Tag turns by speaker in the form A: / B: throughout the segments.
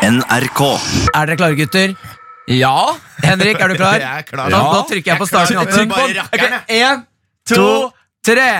A: NRK.
B: Er dere klare, gutter? Ja. Henrik, er du klar?
C: Jeg er klar.
B: Da,
C: Ja.
B: da trykker jeg på starten.
C: Jeg er klar.
B: Trykk på
C: Bare
B: den.
C: rakkeren,
B: Ok, En, to, tre.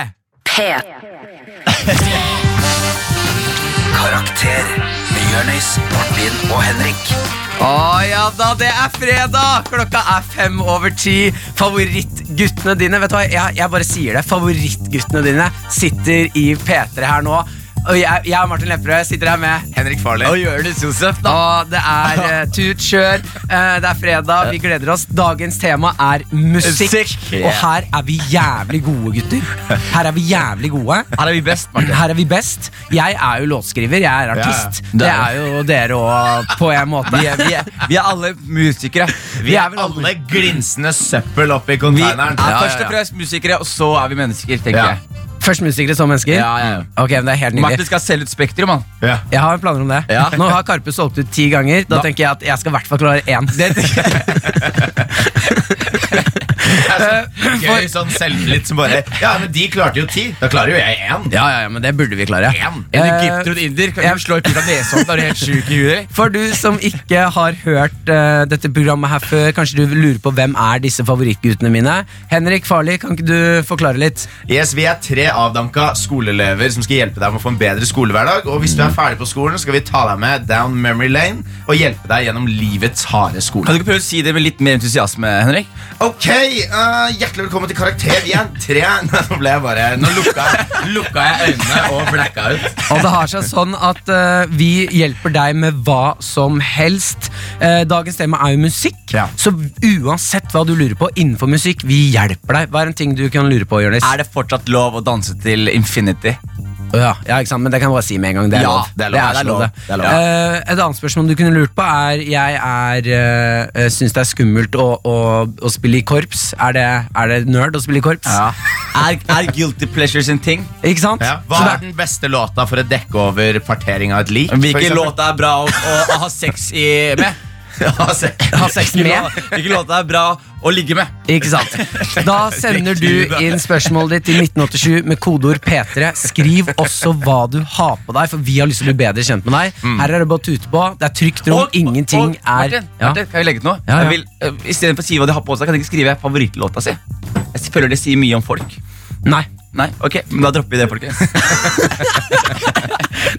A: Karakter med Jørnis, Martin og Henrik.
B: Å ja da, det er fredag! Klokka er fem over ti. Favorittguttene dine Vet du hva, jeg, jeg bare sier det. Favorittguttene dine sitter i P3 her nå. Og jeg, jeg og Martin Lepperød sitter her med
C: Henrik Farley.
D: Og Jonis Josef, da.
B: Og det er eh, tut, kjør. Eh, det er fredag, vi gleder oss. Dagens tema er musikk.
D: Musikk.
B: Og her er vi jævlig gode, gutter. Her er vi jævlig gode.
D: Her er vi best, Martin.
B: Her er vi best. Jeg er jo låtskriver, jeg er artist. Det
D: Ja, ja. Det
B: er
D: er
B: jo dere òg, på en måte.
D: Vi er, vi er, vi er alle musikere.
C: Vi er vel alle glinsende søppel oppi
D: Vi er
C: konteineren.
D: først og fremst musikere, og så er vi mennesker, tenker
C: Ja.
D: jeg.
B: Først musikere, så mennesker.
D: Ja, ja, ja.
B: Ok, men det er helt
D: Martin
B: nydelig.
D: skal selge ut Spektrum, han.
C: Ja.
B: Jeg har planer om det.
D: Ja.
B: Nå har Karpe solgt ut ti ganger. Da
D: Da-
B: tenker jeg at jeg skal i hvert fall klare én.
D: Det,
C: Gøy sånn selvtillit som bare Ja, men de klarte jo ti. Da klarer jo jeg én.
B: Ja, ja, ja, men det burde vi klare.
C: Én.
D: en
B: Eh,
D: egypter og en indier kan
B: jeg-
D: jo slå i pila nesa om du er helt sjuk i huet.
B: For du som ikke har hørt eh, dette programmet her før, kanskje du lurer på hvem er disse favorittguttene mine. Henrik Farli, kan ikke du forklare litt?
C: Yes, Vi er tre avdanka skoleelever som skal hjelpe deg med å få en bedre skolehverdag. Og hvis du er ferdig på skolen, skal vi ta deg med down memory lane og hjelpe deg gjennom livets harde
D: Kan
C: skole.
D: du ikke prøve å si det med litt mer entusiasme, Henrik?
C: Ok, eh, Hjertelig velkommen til Karakter. Vi er tre. Nå ble jeg bare Nå lukka jeg, lukka jeg øynene og blacka ut.
B: Og det har seg sånn at eh, vi hjelper deg med hva som helst. Eh, dagens tema er jo musikk,
C: Ja.
B: så uansett hva du lurer på innenfor musikk, vi hjelper deg. Hva er en ting du kan lure på, Jonis?
D: Er det fortsatt lov å danse til Infinity?
B: Ja, ja, ikke sant, men det kan jeg bare si med en gang. Det er
D: Ja,
B: lov.
D: det er lov, det er
B: så
D: lov, det er lov.
B: Eh, et annet spørsmål du kunne lurt på, er Jeg er, uh, syns det er skummelt å, å, å spille i korps. Er det, er det nerd å spille i korps?
D: Er, er guilty pleasures en ting?
B: Ikke sant?
C: Ja. Hva
B: Så det
C: er den beste låta for å dekke over partering av et lik? for
D: Hvilken
C: eksempel?
D: låt er bra å, å, å ha sex i, med?
C: Ja, se-
B: Ha sex
D: Hvilken
B: med?
D: låt- Hvilken låt er bra å ligge med?
B: Ikke sant? Da sender du inn spørsmålet ditt til 1987 med kodeord P3. Skriv også hva du har på deg, for vi har lyst til å bli bedre kjent med deg. Her er det bare å tute på. Det er trygt rom. Ingenting
D: Mm. og,
B: er
D: Martin, Martin, kan vi legge ut noe?
B: Ja, ja.
D: Jeg vil, eh, I stedet for å si hva de har på seg, kan de ikke skrive favorittlåta si? Jeg føler det sier mye om folk.
B: Ja. Nei.
D: Nei, ok, men da dropper vi det, folkens.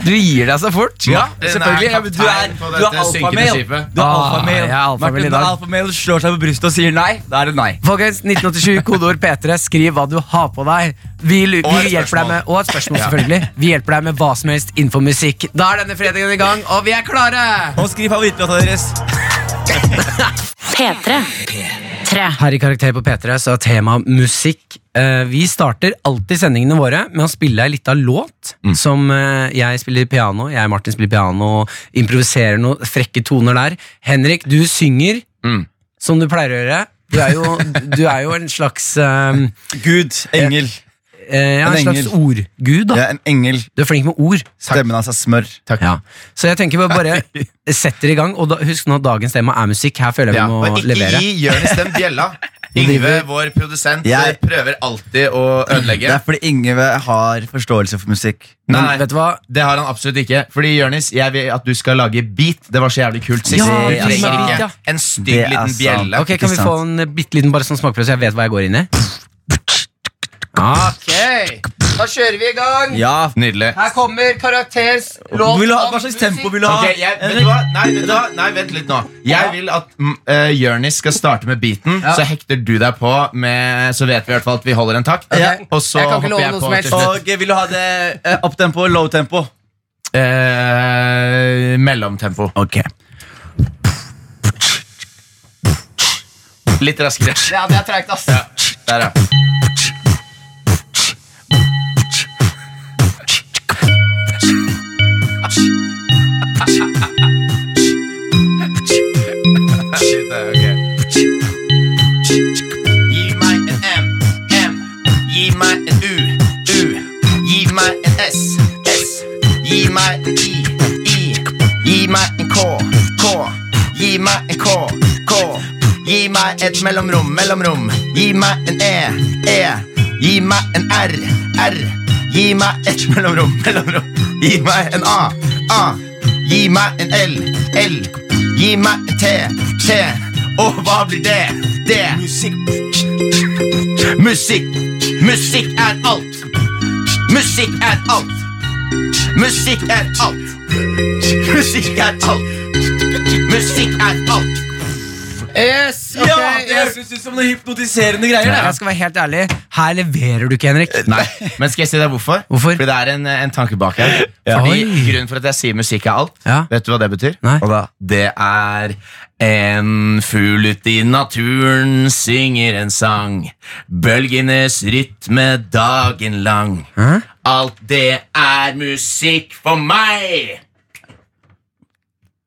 B: Du gir deg så fort.
D: Ja,
C: Martin er
D: selvfølgelig. Ja, men du er,
C: kaptein på
D: du er
C: dette synkende
D: alfamel.
C: skipet.
D: Du er
B: Ah,
D: alfamel.
B: jeg er alfamel i
D: Martin, du er
B: dag.
D: alfamel og slår seg på brystet og sier nei. Da er det nei.
B: Folkens, 1987, kodeord P3, skriv hva du har på deg. Vi, lu-
C: Og et
B: vi hjelper deg
C: spørsmål.
B: med Og et spørsmål, selvfølgelig. Vi hjelper deg med hva som helst innenfor musikk. Da er denne fredagen i gang, og vi er klare!
D: Og skriv favorittlåta deres.
E: P3. P3.
B: Her i Karakter på P3 så er temaet musikk. Eh, vi starter alltid sendingene våre med å spille ei lita låt.
C: Mm.
B: Som eh, jeg spiller piano, jeg Martin spiller piano, improviserer noen frekke toner der. Henrik, du synger
C: Mm.
B: som du pleier å gjøre. Du er jo, du er jo en slags eh,
D: Gud, engel.
B: eh, ja,
D: En
B: En slags
D: engel.
B: ordgud, da.
D: Jeg er en engel.
B: Du er flink med ord.
D: Stemmen hans er smør. Takk.
B: Ja. Så jeg tenker vi bare setter i gang. Og da, husk nå at dagens tema er musikk. Her føler jeg
C: Ja,
B: vi
C: og
B: må
C: ikke
B: levere.
C: gi Jonis den bjella. Yngve, vår produsent, eh,
D: Jeg-
C: prøver alltid å
D: Det
C: ødelegge.
D: er fordi Ingeve har forståelse for musikk.
B: Men
C: Nei.
B: vet du hva?
C: Det har han absolutt ikke. Fordi Jonis, jeg vil at du skal lage beat. Det var så jævlig kult sist.
B: Ja,
C: Vi
D: du
C: trenger
D: lager
C: ikke
B: beat, ja.
C: En stygg
D: Det er
C: liten
D: sant.
C: bjelle.
B: Ok, Kan vi få en eh, bitte liten bare sånn smakprøve, så jeg vet hva jeg går inn i? Ja.
C: Da kjører vi i gang.
D: Ja,
C: Nydelig.
B: Her kommer karakters
D: vil du ha, Hva slags tempo vil du ha?
C: Ok, jeg, vet du hva? Nei, vet du hva? Nei, vent litt nå. Jeg vil at mm, eh, Jonis skal starte med beaten. Så hekter du deg på, med, så vet vi i hvert fall at vi holder en takt.
D: Ja.
C: Og så
B: Jeg kan ikke
C: hopper
B: love
C: jeg
B: noe
C: på
B: som helst.
C: til slutt.
D: Og eh, vil du ha det eh, opptempo, low tempo?
C: Eh, mellomtempo.
D: Ok
C: Litt raskere.
B: Ja, det er treigt, ass.
C: Der, ja. Shit, det er ok. Gi meg en M, M. Gi meg en U, U. Gi meg en S, S. Gi meg en I, I. Gi meg en K, K. Gi meg en K, K. Gi meg et mellomrom, mellomrom. Gi meg en E, E. Gi meg en R, R. Gi meg et mellomrom, mellomrom. Gi meg en A, A.
F: Gi meg en L, L. Gi meg en T, T. Og hva blir det? Det. Musikk. Musikk. Musikk er alt. Musikk er alt. Musikk er alt. Musikk er alt. Musikk er alt.
B: Yes, ok, yes.
D: høres ut som noen hypnotiserende greier. Eh,
B: Jeg skal være helt ærlig, her leverer du ikke, Henrik.
C: Nei, men skal jeg si deg hvorfor?
B: Hvorfor?
C: Fordi det er en, en tanke bak her. Fordi
B: Oi.
C: Grunnen for at jeg sier musikk er alt,
B: Ja.
C: vet du hva det betyr?
B: Nei.
C: Og da, det er en fugl ute i naturen synger en sang. Bølgenes rytme dagen lang.
B: Hæ?
C: Alt det er musikk for meg.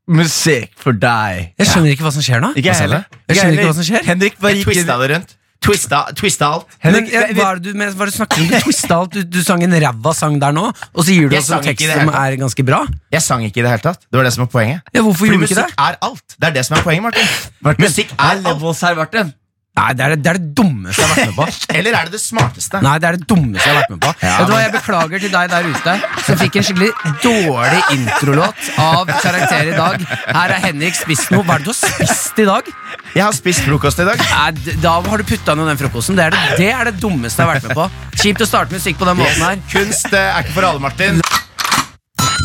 D: Musikk for deg.
B: Jeg skjønner ikke hva som skjer nå.
D: Ikke jeg heller.
B: Jeg skjønner ikke hva som skjer.
D: Henrik, hva
C: Jeg
D: gikk
C: twista det rundt. Twista, twista alt.
B: Men,
D: Henrik,
B: ja, hva er det du, men, hva er det du snakker om? Du twista alt. Du, du sang en ræva sang der nå, og så gir du
C: Jeg
B: oss en
C: sang ikke
B: tekst
C: det
B: som
C: her.
B: er ganske bra.
C: Jeg sang ikke i det hele tatt. Det var det som var poenget.
B: Ja, hvorfor
C: Fordi
B: gjorde du ikke
C: musikk
B: det?
C: er alt. Det er det som er poenget, Martin.
D: Martin,
C: Musikk er alt.
D: levels her, Martin.
B: Nei, det er det, det er det dummeste jeg har vært med på.
C: Eller er det det smarteste?
B: Nei, det er det dummeste jeg har vært med på. Vet du hva, Jeg beklager til deg der ute som fikk en skikkelig dårlig introlåt av karakter i dag. Her er Henrik spist noe. Hva er det du har spist i dag?
C: Jeg har spist frokost i dag.
B: Nei, d- da har du putta noe i den frokosten. Det er det, det er det dummeste jeg har vært med på. Kjipt å starte musikk på den måten her.
C: Kunst eh, er ikke for alle, Martin.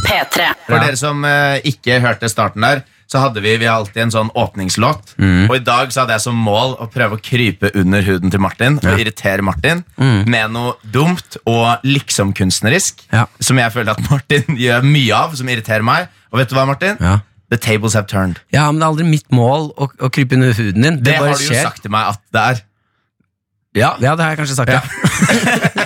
E: P3.
C: For dere som eh, ikke hørte starten der, så hadde vi, vi har alltid en sånn åpningslåt. Og i dag så hadde jeg som mål å prøve å krype under huden til Martin og irritere Martin med noe dumt og liksom-kunstnerisk
B: Ja.
C: som jeg følte at Martin gjør mye av, som irriterer meg. Og vet du hva, Martin?
B: Ja.
C: The tables have turned.
B: Ja, men det er aldri mitt mål å, å krype under huden din.
C: Det,
B: Det, bare
C: har du jo
B: skjer.
C: sagt til meg at det er.
B: Ja. det har jeg kanskje sagt, ja.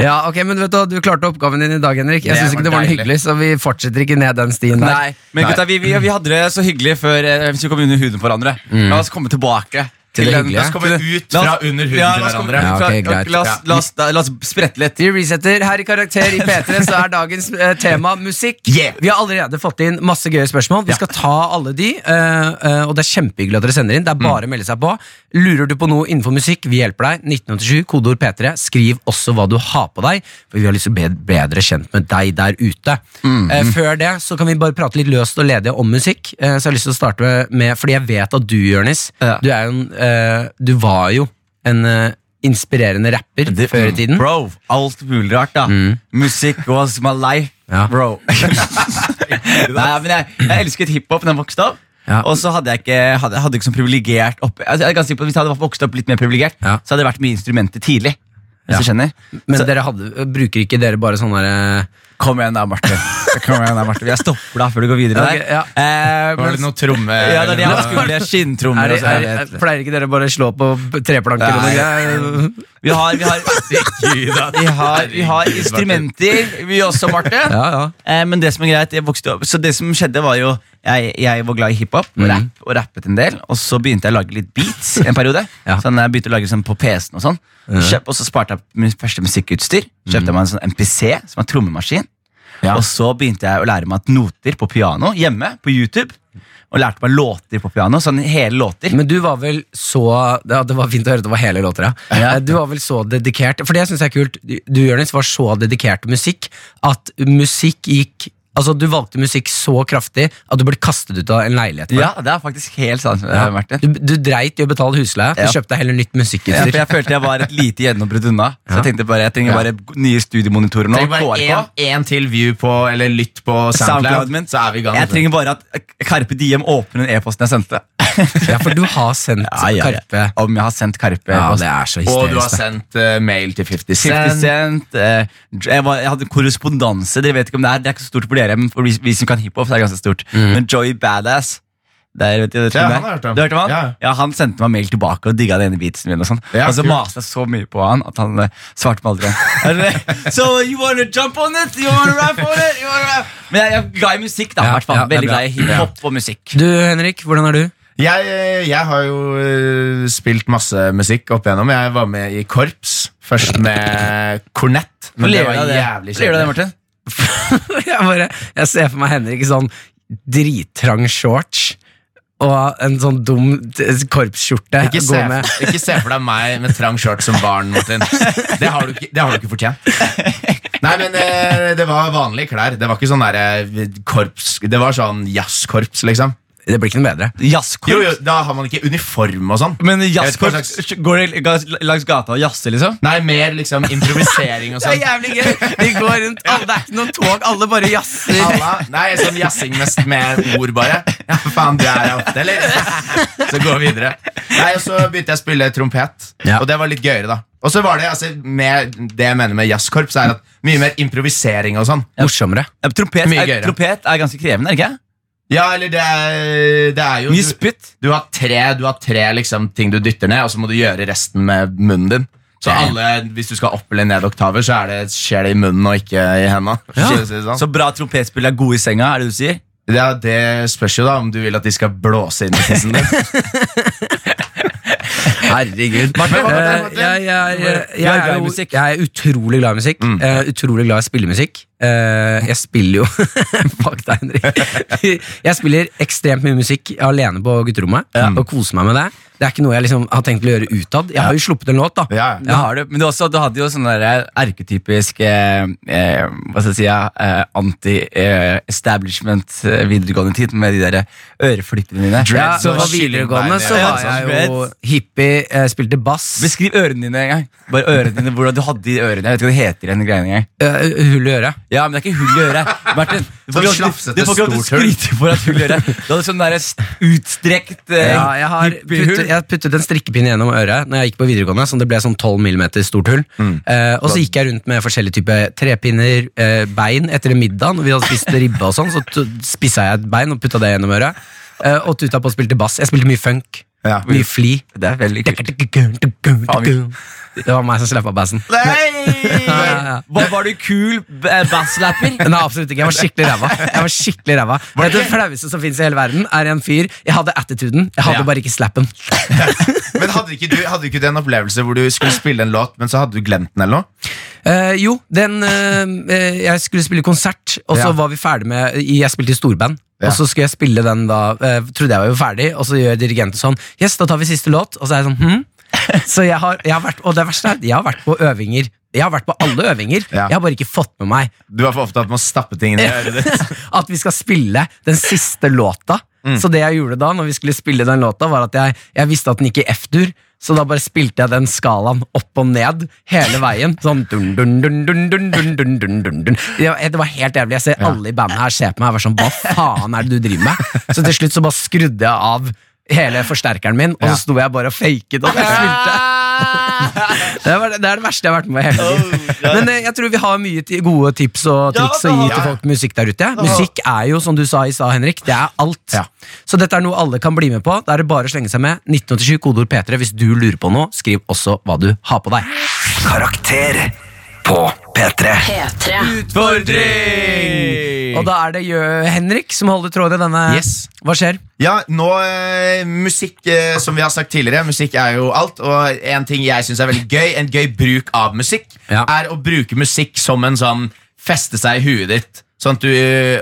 B: ja, ok, men vet Du hva, du klarte oppgaven din i dag, Henrik. Jeg
C: Det
B: syns
C: var
B: ikke det var noe
C: deilig.
B: hyggelig, så vi fortsetter ikke ned den stien der.
D: Nei, men gutta, vi, vi, vi hadde det så hyggelig før eh, hvis vi kom under huden på hverandre. La oss komme tilbake.
B: Til det
D: den-
B: hyggelige.
D: la oss komme
C: Til-
D: ut
C: la
D: fra
C: oss-
D: under huden
C: ja,
D: til
C: la oss komme
D: hverandre.
B: ut fra-
D: Ja, ok, greit.
B: la oss-
D: Ja. la oss, da- la oss sprette litt.
B: Vi resetter. Her i Karakter i P3 så er dagens eh, tema musikk.
C: Yeah.
B: Vi har allerede fått inn masse gøye spørsmål. Vi skal ta alle de, eh, eh, og det er kjempehyggelig at dere sender inn.
D: Mm.
B: Det er bare å melde seg på. Lurer du på noe innenfor musikk, vi hjelper deg. 1987, kodeord P3. Skriv også hva du har på deg, for vi har lyst til å bli bedre kjent med deg der ute.
D: Mm.
B: Eh, før det så kan vi bare prate litt løst og ledig om musikk. Eh, så jeg har lyst til å starte med, fordi jeg vet at du, Jonis,
D: Ja.
B: du er jo en eh, Du var jo en eh, inspirerende rapper før i tiden.
D: mm.
B: Mm.
D: Bro, alt mulig rart, da. Musikk was my life,
B: Ja.
D: bro. Nei, men jeg, jeg elsket hiphop da jeg vokste opp.
B: Ja.
D: Og så hadde jeg ikke, hadde, jeg hadde ikke sånn privilegert opp, altså, jeg er ganske sikker på at Hvis jeg hadde vokst opp litt mer privilegert,
B: Ja.
D: så hadde det vært mye instrumenter tidlig. Hvis du skjønner
B: Men
D: så,
B: dere hadde, bruker ikke dere bare sånn derre
D: Kom igjen da, Martin. Kom igjen da, Martin Jeg stopper deg før du går videre.
B: Ok, ja.
D: der. Eh,
C: Var
D: men-
C: det noe tromme?
D: ja, det er det
C: eller
D: jeg
C: noe-
D: var skummel. Skinntrommer
B: er,
D: og
B: det-
D: sånn.
B: er, er, Pleier ikke dere bare å slå på b- treplanker og noe
D: Nei.
B: greier?
D: Vi har, vi har,
C: Gud, da.
D: vi har, vi har instrumenter, vi også, Martin.
B: Ja, ja.
D: Eh, men det som er greit, jeg vokste opp Så det som skjedde var jo Jeg, jeg var glad i hiphop og rapp og rappet en del. Og så begynte jeg å lage litt beats en periode.
B: Ja.
D: Sånn jeg begynte å lage sånn på PC-en Og sånn Kjøp, Og så sparte jeg min første musikkutstyr. Kjøpte jeg meg en sånn MPC, som er trommemaskin. Og så begynte jeg å lære meg at noter på piano hjemme på YouTube. Og lærte meg låter på piano. Sånn hele låter.
B: Men du var vel så ja, Det var fint å høre at det var hele låter, ja.
D: Ja.
B: Eh, Du var vel så dedikert For det syns jeg er kult. Du, du, Jonis, var så dedikert til musikk at musikk gikk Altså, du valgte musikk så kraftig at du ble kastet ut av en leilighet. for
D: Ja, det er faktisk helt sant.
B: det.
D: Martin.
B: Du, du dreit i å betale husleie. Du
D: Ja.
B: kjøpte heller nytt
D: Ja, for
B: musikkutstyr.
D: jeg følte jeg var et lite gjennombrudd unna. Så jeg tenkte bare, jeg trenger bare nye studiemonitorer nå.
C: Trenger bare
D: KRK.
C: en, en til view på, eller lytt på
D: Soundcloud
C: SoundCloud,
D: min.
C: så er vi i gang.
D: Jeg trenger bare at Karpe Diem åpner den e-posten jeg sendte.
B: Ja, for du har sendt Karpe.
D: Om jeg har sendt Karpe.
B: Ja, det er så
C: Og du
B: hysterisk.
C: har
B: det.
C: sendt eh, mail til 50
D: 50
C: Cent.
D: Cent. eh, Jeg, var, jeg hadde korrespondanse. Dere vet ikke om Det er Det er ikke så stort for dere, men for vi, vi som kan hiphop, så er det ganske stort.
B: Mhm.
D: Men Joey Badass der, vet du, vet du
C: Ja,
D: hvem
C: han
D: det er?
C: har jeg hørt om.
D: Du hørte om han?
C: Ja.
D: Ja, han sendte meg mail tilbake og digga den ene beatsen min. Og sånn
C: Ja,
D: Og så
C: kult.
D: maste jeg så mye på han at han eh, svarte meg aldri. Er det- so you wanna jump on it? You wanna rap on it? You wanna rap? Men jeg, jeg er glad i musikk, da.
B: Ja,
D: hvert fall.
B: ja, det er
D: Veldig
B: bra.
D: glad i hiphop og musikk.
B: Du, Henrik, hvordan er du?
C: Jeg, eh, jeg har jo eh, spilt masse musikk opp igjennom. Jeg var med i korps, først med kornett. Men det
D: Ler du
C: var
D: av
C: jævlig
D: Ler du
C: kjedelig.
D: av det, Martin?
B: jeg, bare, jeg ser for meg Henrik i sånn drittrang shorts og en sånn dum t- korpsskjorte.
C: Ikke se,
B: Gå med.
C: ikke se for deg meg med trang skjørt som barn, Martin. Det har du ikke, det har du ikke fortjent. Nei, men eh, det var vanlige klær. Det var ikke sånn der, eh, korps Det var sånn jazzkorps, liksom.
B: Det blir ikke noe bedre.
C: Jo, jo,
D: Jazzkorps?
C: da har man ikke uniform og sånn.
D: Men
C: Jeg vet
D: jazzkorps
C: ikke
D: går de ga- langs gata og jazzer, liksom?
C: Nei, mer liksom improvisering og
B: Det er
C: sånn.
B: jævlig gøy! De går rundt, alle, det er ikke noen tog, alle bare jazzer.
C: Alla, nei, sånn jazzing mest med ord, bare. Ja, faen, du er her ofte, eller? Så gå videre. Nei, og Så begynte jeg å spille trompet,
B: Ja.
C: og det var litt gøyere, da. Og så var det, altså, med, Det jeg mener med jazzkorps, er at mye mer improvisering og sånn.
B: Morsommere.
D: Ja, men trompet,
C: Mye
D: er,
C: gøyere.
D: trompet er ganske krevende, er det ikke?
C: Ja, eller det er, det er jo
D: Mye spytt.
C: Du har tre, du har tre liksom, ting du dytter ned, og så må du gjøre resten med munnen din. Så alle, Hvis du skal opp eller ned oktaver, så er det, skjer det i munnen og ikke i hendene.
D: Ja.
C: Så- så-
D: Så
C: sånn.
D: bra trompetspillere er gode i senga, er det du sier?
C: Ja, det spørs jo da om du vil at de skal blåse inn i tissen din.
B: Herregud.
C: Martin, hva
B: Eh,
C: med deg, Martin?
B: jeg, jeg, jeg,
D: Du er glad
B: er
D: i
B: jo,
D: musikk.
B: jeg er utrolig glad i musikk. eh, utrolig glad i spillemusikk. Eh, jeg spiller jo Fuck deg, Henrik. Jeg spiller ekstremt mye musikk alene på gutterommet og koser meg med det. Det er ikke noe jeg liksom har tenkt å gjøre utad. Jeg har jo sluppet en låt, da.
C: Ja, ja.
D: Det har du, men du, også, du hadde jo sånn der erketypisk eh, eh, Hva skal jeg si ja, eh, Anti-establishment eh, videregående tid med de der øreflikkene dine.
B: Ja,
C: Dreads
B: så
C: og
B: på
C: skilling
B: videregående
C: bein,
B: så
C: ja,
B: var
D: sånn
B: jeg jo hippie, eh, spilte bass,
D: Beskriv ørene dine en gang. Bare ørene dine, Hvordan du hadde de ørene. Jeg vet ikke hva det heter. i den greien engang.
B: eh, hull i øret.
D: Ja, men det er ikke hull i øret. Martin, du får
C: Sånn
D: ikke lov til- du
C: slafsete,
D: får ikke lov til å
C: stort hull.
D: skryte for at hull i øret. Du hadde sånn der st- utstrekt eh,
B: Ja, jeg har puttet,
D: hippiehull.
B: jeg har puttet en strikkepinne gjennom øret Når jeg gikk på videregående, så det ble sånn 12 millimeter stort hull. Eh, og så gikk jeg rundt med forskjellige typer trepinner, eh, bein etter en middag. Når vi hadde spist ribbe og sånn, så t- spissa jeg et bein og putta det gjennom øret. Eh, og tuta på og spilte bass. Jeg spilte mye funk.
C: Ja.
B: Mye fli.
D: Det er veldig kult.
B: Det var meg som slappa bassen.
D: Nei! Var, var du kul b- eh, basslapper?
B: Nei, absolutt ikke. Jeg var skikkelig ræva. Jeg var skikkelig ræva Det er det flaueste som fins i hele verden, er en fyr Jeg hadde attituden, jeg hadde
C: Ja.
B: bare ikke slappen.
C: Men hadde ikke, du, hadde ikke du en opplevelse hvor du skulle spille en låt, men så hadde du glemt den? eller noe?
B: Eh, jo, den eh, eh, Jeg skulle spille konsert, og så
C: Ja.
B: var vi ferdig med Jeg spilte i storband.
C: Ja.
B: Og så skulle jeg spille den da eh, Trodde jeg var jo ferdig, og så gjør dirigenten sånn Yes, da tar vi siste låt. Og så er jeg sånn hm? Så jeg har, jeg har vært Og det verste er at jeg har vært på øvinger. Jeg har vært på alle øvinger.
C: Ja.
B: Jeg har bare ikke fått med meg
C: Du var for opptatt med å stappe ting inn i øret ditt.
B: at vi skal spille den siste låta. Så det jeg gjorde da, når vi skulle spille den låta, var at jeg, jeg visste at den gikk i F-dur. Så da bare spilte jeg den skalaen opp og ned hele veien. Sånn dun, dun, dun, dun, dun, dun, dun, dun, dun, dun. Det var- Det var helt jævlig. Jeg ser alle i bandet her se på meg og være sånn Hva faen er det du driver med? Så til slutt så bare skrudde jeg av hele forsterkeren min, og så sto jeg bare og faket og spilte. Det, var, det er det verste jeg har vært med på i hele livet. Men eh, jeg tror vi har mye ti- gode tips og triks å gi til folk med musikk der ute. Musikk er jo, som du sa i stad, Henrik, det er alt. Så dette er noe alle kan bli med på. Da er det bare å slenge seg med. 1987, kodeord P3. Hvis du lurer på noe, skriv også hva du har på deg.
A: Karakter på P3.
E: P3.
B: Og da er det Jø- Henrik som holder tråden i denne.
C: Yes.
B: Hva skjer?
C: Ja, nå eh, Musikk, eh, som vi har sagt tidligere, musikk er jo alt. Og en ting jeg syns er veldig gøy, en gøy bruk av musikk,
B: Ja.
C: er å bruke musikk som en sånn feste seg i huet ditt. Sånn at du,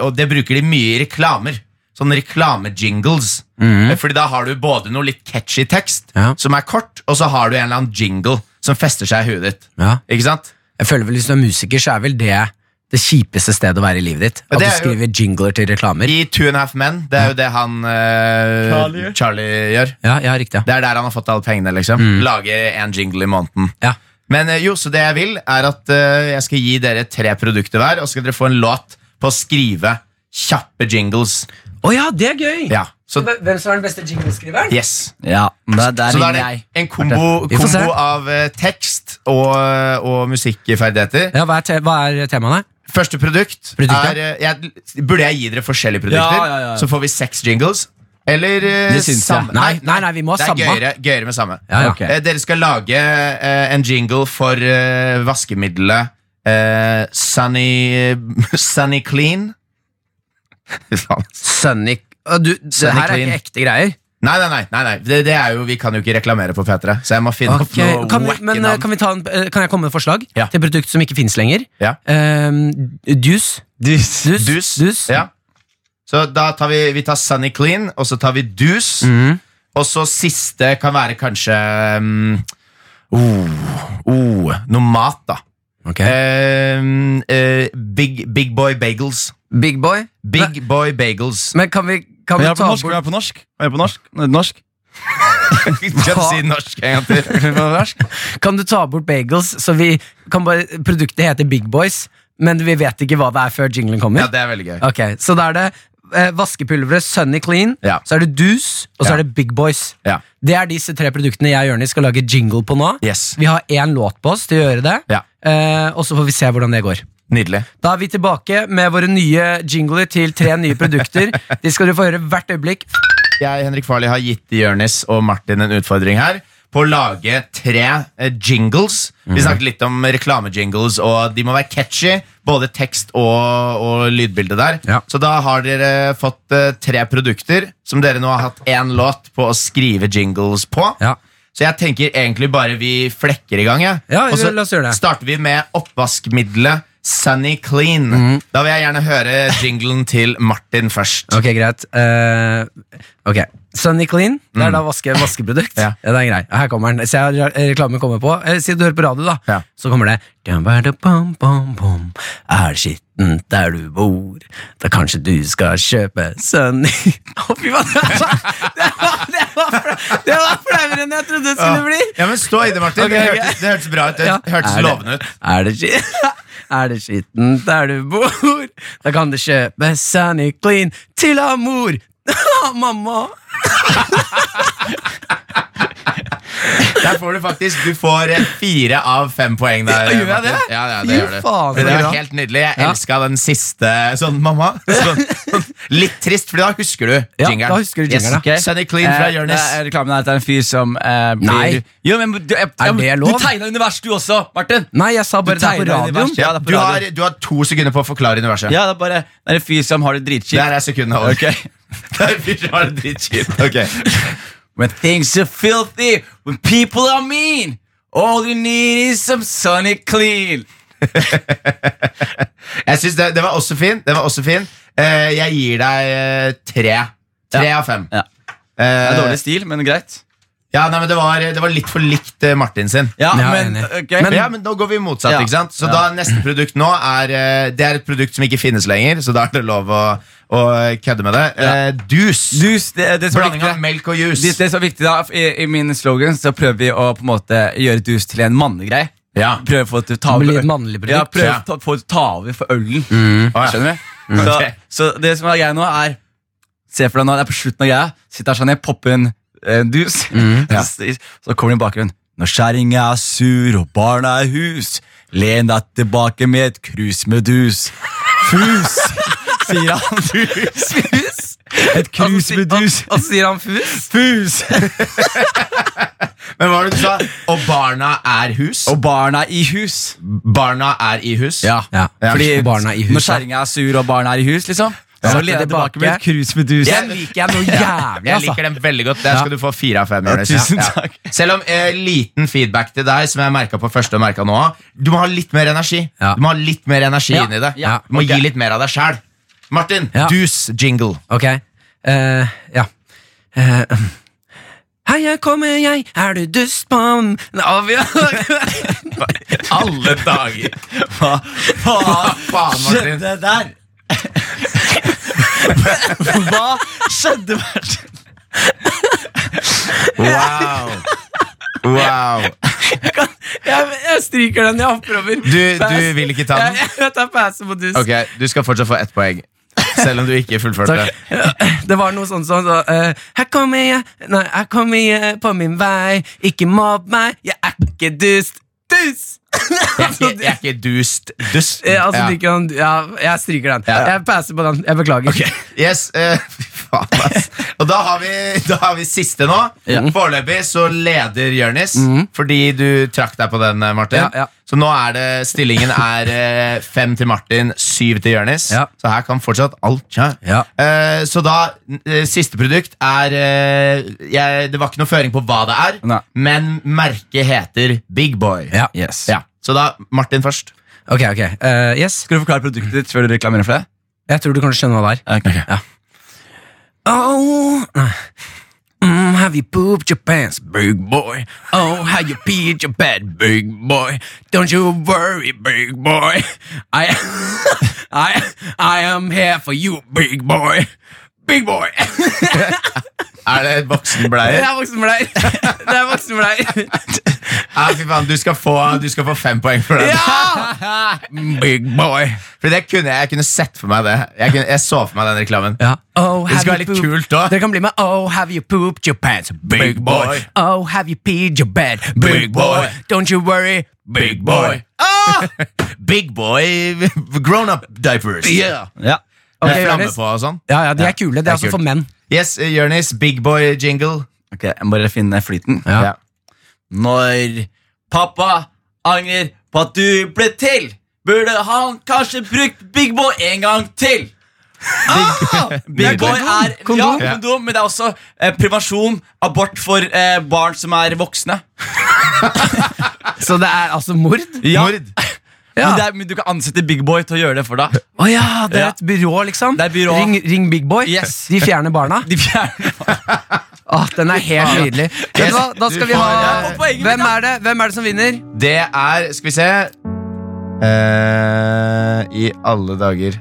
C: og det bruker de mye i reklamer. Sånn reklamejingles. Eh, Fordi da har du både noe litt catchy tekst,
B: Mhm. Ja.
C: som er kort, og så har du en eller annen jingle som fester seg i huet ditt.
B: Ja.
C: Ikke sant?
B: Jeg føler vel Hvis du er musiker, så er vel det det kjipeste stedet å være i livet ditt.
C: Ja,
B: At du
C: det er jo-
B: skriver jingler til reklamer.
C: I Two and a Half Men, det er jo det han eh,
D: Charlie.
C: Charlie gjør.
B: Ja, ja riktig.
C: Det er der han har fått alle pengene. liksom
B: Mm.
C: Lager en jingle i måneden.
B: Ja.
C: Men eh, jo, så det jeg vil, er at eh, jeg skal gi dere tre produkter hver, og så skal dere få en låt på å skrive kjappe jingles.
B: Å ja, det er gøy!
C: Ja, så
B: Hvem som er den beste jingleskriveren?
C: yes
D: Ja, der, der
C: så da er
D: ringer
C: det
D: jeg.
C: en kombo,
B: Vi får se.
C: kombo av eh, tekst og, og musikkferdigheter.
B: Ja, hva, er te hva er temaene?
C: Første produkt
B: Produkt, ja.
C: er eh, jeg, Burde jeg gi dere forskjellige produkter?
D: Ja, ja, ja.
C: Så får vi seks jingles. Eller eh,
D: Det syns jeg.
C: samme
B: Nei, nei, nei, vi må ha
C: det er
B: samme.
C: Gøyere, gøyere med samme.
B: Ja, ja.
D: Ok.
C: Eh, Dere skal lage eh, en jingle for eh, vaskemiddelet eh, Sunny, Sunny Clean. Fy faen.
B: Sunny Å, du, Det
C: Sunny
B: her er
C: Clean.
B: ikke ekte greier.
C: nei, nei, nei, nei, nei. Det, det er jo, vi kan jo ikke reklamere på P3, så jeg må finne
B: Ok,
C: opp
B: Kan,
C: noe
B: vi,
C: wacky
B: men, eh,
C: navn.
B: kan, vi ta en, eh, kan jeg komme med forslag
C: Ja.
B: til produkt som ikke fins lenger?
C: Ja.
B: Ehm, dus. Dus. dus.
C: Dus. Ja. Så da tar vi, vi tar Sunny Clean, og så tar vi Dus. Og så siste kan være kanskje um, oh, oh, mm, noe mat, da.
B: Ok.
C: Ehm, eh, big, big Boy Bagels.
B: Big boy?
C: Big Boy Bagels.
B: Men kan vi, kan vi
D: Jeg er på
B: ta
D: norsk.
B: bort
D: Jeg er på norsk. Jeg er på norsk. norsk.
C: Kan si norsk en gang til.
B: Kan du ta bort bagels, så vi kan bare Produktet heter Big Boys, men vi vet ikke hva det er før jinglen
C: Ja,
B: kommer?
C: det er veldig gøy.
B: Ok, Så da er det eh, vaskepulveret Sunny Clean,
C: Ja.
B: så er det Dus, og så
C: Ja.
B: er det Big Boys.
C: Ja.
B: Det er disse tre produktene jeg og Jonis skal lage jingle på nå.
C: Yes.
B: Vi har én låt på oss til å gjøre det,
C: Ja.
B: eh, og så får vi se hvordan det går.
C: Nydelig.
B: Da er vi tilbake med våre nye jingler til tre nye produkter. De skal du få høre hvert øyeblikk.
C: Jeg, Henrik Farley, har gitt Jørnis og Martin en utfordring her på å lage tre eh, jingles.
B: Mhm.
C: Vi snakket litt om reklamejingles, og de må være catchy. Både tekst og, og lydbilde der.
B: Ja.
C: Så da har dere fått eh, tre produkter som dere nå har hatt én låt på å skrive jingles på.
B: Ja.
C: Så jeg tenker egentlig bare vi flekker i gang. jeg.
B: Ja,
C: og så
B: la oss gjøre det.
C: starter vi med oppvaskmiddelet Sunny Clean.
B: Mhm.
C: Da vil jeg gjerne høre jinglen til Martin først.
B: Ok, greit. Eh, ok, Sunny Clean. Det er da vaske, vaskeprodukt.
C: Mm. Ja.
B: det er grei. Her kommer den. Se, re- reklamen kommer på. Eh, Si du hører på radio, da.
C: Ja.
B: Så kommer det Dum-ba-da-bam, bam, bam. Er det skittent der du bor, da kanskje du skal kjøpe Sunny Å, fy faen! Det var- det var- det var fla- det var flauere enn jeg trodde det skulle bli!
C: Ja, men Stå i det, Martin.
B: Ok,
C: Det,
B: ok.
C: hørtes, det hørtes bra ut. Det
B: Ja.
C: hørtes
B: Er det-
C: lovende ut.
B: Er det, ski- er det skitten der du bor, da kan du kjøpe Sunny Clean til amor. Ah, Mamma!
C: Der får du faktisk Du får eh, fire av fem poeng. der
B: Gjør jeg
C: Martin.
B: det?
C: Ja, ja,
B: Fy
C: det gjør du.
B: faen,
C: Men
B: så
C: det
B: bra.
C: var helt nydelig. Jeg
B: Ja.
C: elska den siste sånn mamma. Sånn, litt trist, for da husker du
B: Ja,
C: jingeren.
B: da husker du jingeren,
D: ja.
C: Sunny Clean fra
D: Eh,
C: Jonis.
D: det er Reklamen er at det er en fyr som eh, blir
B: Nei.
D: Jo, men du, jeg,
B: Er det
D: du
B: lov?
D: tegna univers, du også, Martin!
B: Nei, jeg sa bare
D: Du
B: det er på
D: tegner
B: radioen.
D: universet. Ja, det er på
C: du,
D: radio.
C: har, du har to sekunder på å forklare universet.
D: Ja, det er bare det er en fyr som har det dritkjipt.
C: Der er sekundene over.
D: Ok.
C: Der blir det bare dritkjipt. Ok.
D: When things are filthy, when people are mean, all you need is some sunny clean.
C: Jeg synes det, det var også fin. Det var også fin. Eh, jeg gir deg eh, tre. Tre av fem.
D: Ja. Det er
C: Eh,
D: dårlig stil, men greit.
C: ja, nei, men det, var, det var litt for likt eh, Martin sin.
D: Ja,
B: Ja,
D: men,
B: enig.
D: ok.
C: Men, ja, men nå går vi motsatt,
D: Ja.
C: ikke sant? Så
D: Ja.
C: da neste produkt nå er eh, Det er et produkt som ikke finnes lenger, så da er det lov å, å kødde med det. Eh, dus.
D: Dus, det, det som er
C: Blanding
D: viktig,
C: av melk og
D: det,
C: juice.
D: det som er viktig da, i, i min slogan så prøver vi å på en måte gjøre dus til en mannegreie.
C: Ja.
D: Prøve å få det til å ta
B: Det blir
D: over-
B: et mannlig produkt.
D: Ja, prøve
C: Ja.
D: å ta, få det til å ta over for ølen.
C: Å, ja.
D: Skjønner du? Så,
C: Ok.
D: så det som er greia nå, er Se for deg nå, det er på slutten av greia. Sitter her sånn, jeg popper en, en dus,
C: Mm,
D: så, så kommer det i bakgrunnen. Når skjæringa er sur og barna er hus, len deg tilbake med et krus med dus. Fus, sier han. Dus? Et krus med dus.
B: Og så sier han fus.
D: Fus!
C: Men hva var det du sa? Og barna er hus?
D: Og barna er i hus.
C: barna er i hus?
B: Ja,
C: Fordi
B: og barna i huset.
D: Når skjæringa er sur og barna er i hus, liksom.
B: Ja.
D: Så len deg tilbake med et krus med dus.
B: Den liker jeg noe jævlig,
C: Jeg
B: altså.
C: liker den veldig godt. Der skal du få fire av fem. Jonas.
D: tusen takk.
C: Selv om eh, liten feedback til deg, som jeg merka på første og merket nå Du må ha litt mer energi.
B: Ja.
C: Du må ha litt mer energi
B: Ja.
C: inni det.
B: Ja.
C: Du må gi litt mer av deg sjæl. Martin,
B: Ja.
C: dus jingle.
B: Ok, eh, ja. Eh, Hei, her kommer jeg, er du dust på m- Å, vi-
C: Alle dager!
D: Hva
C: faen, Martin?
D: skjedde der? Hva skjedde, Martin?
C: Wow. Wow.
B: jeg, jeg stryker den, jeg hopper over.
C: Du, du vil ikke ta
B: Jeg,
C: den?
B: jeg tar pause på dust.
C: Ok, Du skal fortsatt få ett poeng. Selv om du ikke fullførte.
B: Takk. Det var noe sånn sånn så, eh, Her kommer jeg, nei, her kommer jeg på min vei. Ikke mobb meg, jeg er ikke dust. Dust!
C: Jeg er ikke, jeg er ikke dust. Dust.
B: Eh, altså,
C: Ja.
B: drikker han- ja, jeg stryker den.
C: Ja.
B: Jeg passer på den. Jeg beklager.
C: Yes, eh, fy faen ass. Og da har, vi, da har vi siste nå. Foreløpig så leder Jørnis, fordi du trakk deg på den, eh, Martin.
B: Mhm. Ja, ja.
C: Så nå er det, stillingen er eh, fem til Martin, syv til Jørnis.
B: Ja.
C: Så her kan fortsatt alt skje.
B: Ja.
C: Eh, så da, eh, siste produkt er eh, jeg, Det var ikke noe føring på hva det er,
D: Nei.
C: men merket heter Big Boy.
B: Ja.
D: Yes.
C: Ja. Så da, Martin først.
B: Ok, ok. Eh, yes,
D: Skal du forklare produktet ditt før du reklamerer for det?
B: jeg tror du kanskje skjønner hva det er.
D: Okay.
B: Au. Nei. Mm, her Have you pooped your pants, big boy? Oh, have you peed your bed, big boy? Don't you worry, big boy. I, I, I am here for you, big boy. Big boy!
C: Er det et
B: Det
C: voksenbleier?
B: er voksenbleier. Det er voksenbleier.
C: Ja, Ah, fy faen, du skal, få, du skal få fem poeng for den.
B: Ja! Big boy.
C: For det kunne jeg, jeg kunne sett for meg det. Jeg, kunne, jeg så for meg den reklamen.
B: Ja. Oh,
C: Det
B: have you
C: skal være litt
B: pooped-
C: kult òg.
B: Dere kan bli med. Oh, have you pooped your pants, big
C: Big
B: boy?
C: boy.
B: Oh, have you peed your bed, big
C: Big
B: boy?
C: boy.
B: Don't you worry, big boy. Ah!
C: Big boy grown up diapers.
B: Yeah.
D: Ja.
B: Ok,
C: Med flamme
B: Jonis.
C: på og sånn.
B: Ja, ja, de er kule. Det er altså for menn.
C: Yes, eh, Jonis. Big boy jingle.
D: Ok, jeg må bare finne flyten.
B: Ja.
D: Når pappa angrer på at du ble til, burde han kanskje brukt Big Boy en gang til. Ah! Big
C: Boy.
D: Boy er
B: Kondom.
D: Ja, kondom, men det er også eh, prevensjon, abort for eh, barn som er voksne.
B: Så det er altså mord?
D: Ja.
C: Mord.
B: Ja.
D: Men, det er, men du kan ansette Big Boy til å gjøre det for deg.
B: Å ja, det er
D: Ja.
B: et byrå, liksom?
D: Det er byrå.
B: Ring, ring Big Boy?
D: Yes.
B: De fjerner barna?
D: De fjerner
B: Åh, den er helt nydelig. Vet du hva, da skal
C: Du
B: vi ha
C: får-
B: Hvem er det Hvem er det som vinner?
C: Det er Skal vi se Eh, I alle dager.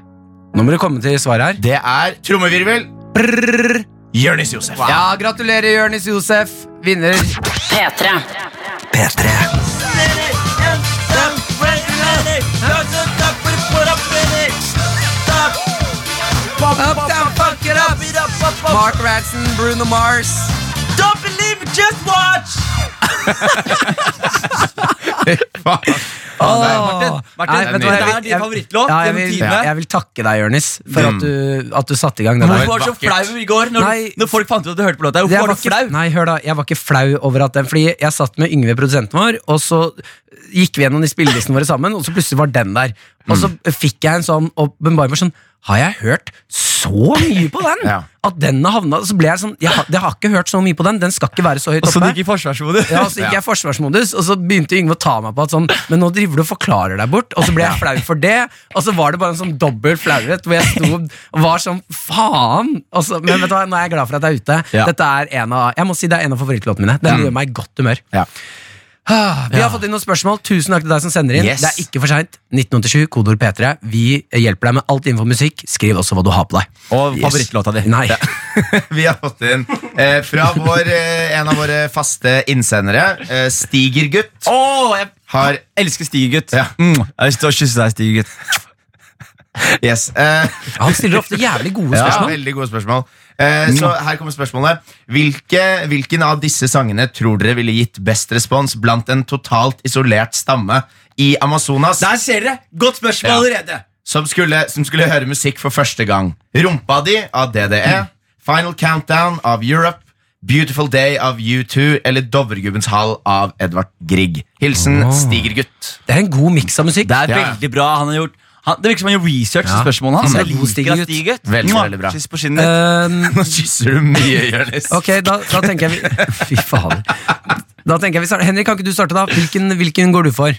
B: Nå må du komme til svaret her.
C: Det er trommevirvel. Jonis Josef.
B: Ja, gratulerer, Jonis Josef. Vinner.
E: P3.
A: P3
B: Uptown, fuck it up. Mark Ranson, Bruno Mars.
C: Martin,
D: Martin,
B: Nei, vet du hva,
D: det
B: jeg
D: er
B: vil-
D: din
B: jeg-
D: favorittlåt.
B: Ja, jeg,
D: gjennom
B: vil,
D: tidene. Mm.
B: jeg vil takke deg, Jonis, for at du, at du satte i gang det
D: Hvorfor
B: der.
D: var du så
C: Vakkert.
D: flau i går når,
B: Nei.
D: når folk fant ut at du hørte på låta?
B: Jeg
D: Hvorfor var du flau?
B: ikke, nei, hør da, jeg var ikke flau over at den Fordi jeg satt med Yngve, produsenten vår, og så gikk vi gjennom de spillelistene våre sammen, og så plutselig var den der. Og så
D: Mm.
B: fikk jeg en sånn åpenbaring sånn Har jeg hørt så mye på den?
C: Ja.
B: At den har havna Så ble jeg sånn jeg, har- Jeg har ikke hørt så mye på den, den skal ikke være så høyt oppe.
D: Og så du gikk i forsvarsmodus.
B: Ja, så gikk jeg i forsvarsmodus, og så begynte Yngve å ta meg på at sånn, men nå driver du og forklarer deg bort, og så ble jeg flau for det, og så var det bare en sånn dobbel flauhet, hvor jeg sto og var sånn, faen! Og så, men vet du hva, nå er jeg glad for at jeg er ute.
C: Ja.
B: Dette er en av, jeg må si det er en av favorittlåtene mine. Den gjør meg i godt humør.
C: Ja.
B: Ah, Vi har fått inn noen spørsmål. Tusen takk til deg som sender inn.
C: Yes.
B: Det er ikke for seint. 1987, kodeord P3. Vi hjelper deg med alt innenfor musikk. Skriv også hva du har på deg.
D: Og
B: Yes.
D: favorittlåta di.
B: Nei.
C: Vi har fått inn eh, fra vår, eh, en av våre faste innsendere, eh, Stigergutt,
D: Åh, jeg
C: har
D: elsker Stigegutt.
C: Ja.
D: Mm, jeg har lyst til å kysse deg, Stigegutt.
C: Yes. Eh,
B: Han stiller ofte jævlig gode
C: Ja,
B: spørsmål.
C: veldig gode spørsmål. Eh, så
D: Mm.
C: her kommer spørsmålet. Hvilke, hvilken av disse sangene tror dere ville gitt best respons blant en totalt isolert stamme i Amazonas
D: Der ser dere! Godt spørsmål
C: Ja.
D: allerede.
C: som skulle, som skulle høre musikk for første gang? Rumpa di av DDE, Final Countdown av Europe, Beautiful Day av U2 eller Dovregubbens hall av Edvard Grieg? Hilsen
B: Ah.
C: Stigergutt.
B: Det er en god miks av musikk.
D: Det er
C: Ja.
D: veldig bra. Han har gjort han, Det virker som han gjør research til
B: Ja.
D: spørsmålene hans.
B: Han er
D: Jeg
B: god
D: liker at
B: Stigegutt.
D: Stigegutt
C: Veldig,
D: Mwah,
C: veldig bra.
D: Kyss på kinnet.
B: Um,
C: Nå kysser du mye, Jonis.
B: Ok, da, da tenker jeg vi Fy faen Da tenker jeg vi starter Henrik, kan ikke du starte da? Hvilken, hvilken går du for?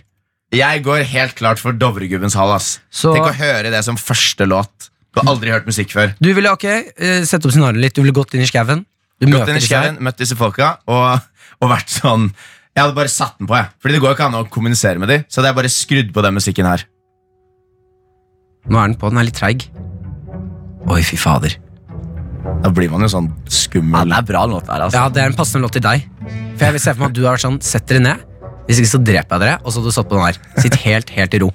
C: Jeg går helt klart for Dovregubbens hall. ass
B: Så-
C: Tenk å høre det som første låt. Du har aldri hørt musikk før.
B: Du ville, ok, eh, sette opp scenarioet litt Du ville gått inn i skaven Du møter
C: Gått inn i
B: disse her.
C: skauen, møtt disse folka og, og vært sånn Jeg hadde bare satt den på, jeg. Fordi det går jo ikke an å kommunisere med dem. Så hadde jeg bare skrudd på den musikken her.
B: Nå er den på, den er litt treig
D: Eh,
B: Oi, fy fader
C: Da blir man jo sånn
D: Ja,
C: skummel.
D: det er bra den låta her, altså.
B: Ja, det er en passende låt til deg For jeg vil se for meg at du har vært sånn Sett dere ned Hvis ikke så dreper jeg dere Og så hadde du satt på den her Sitt helt, helt i ro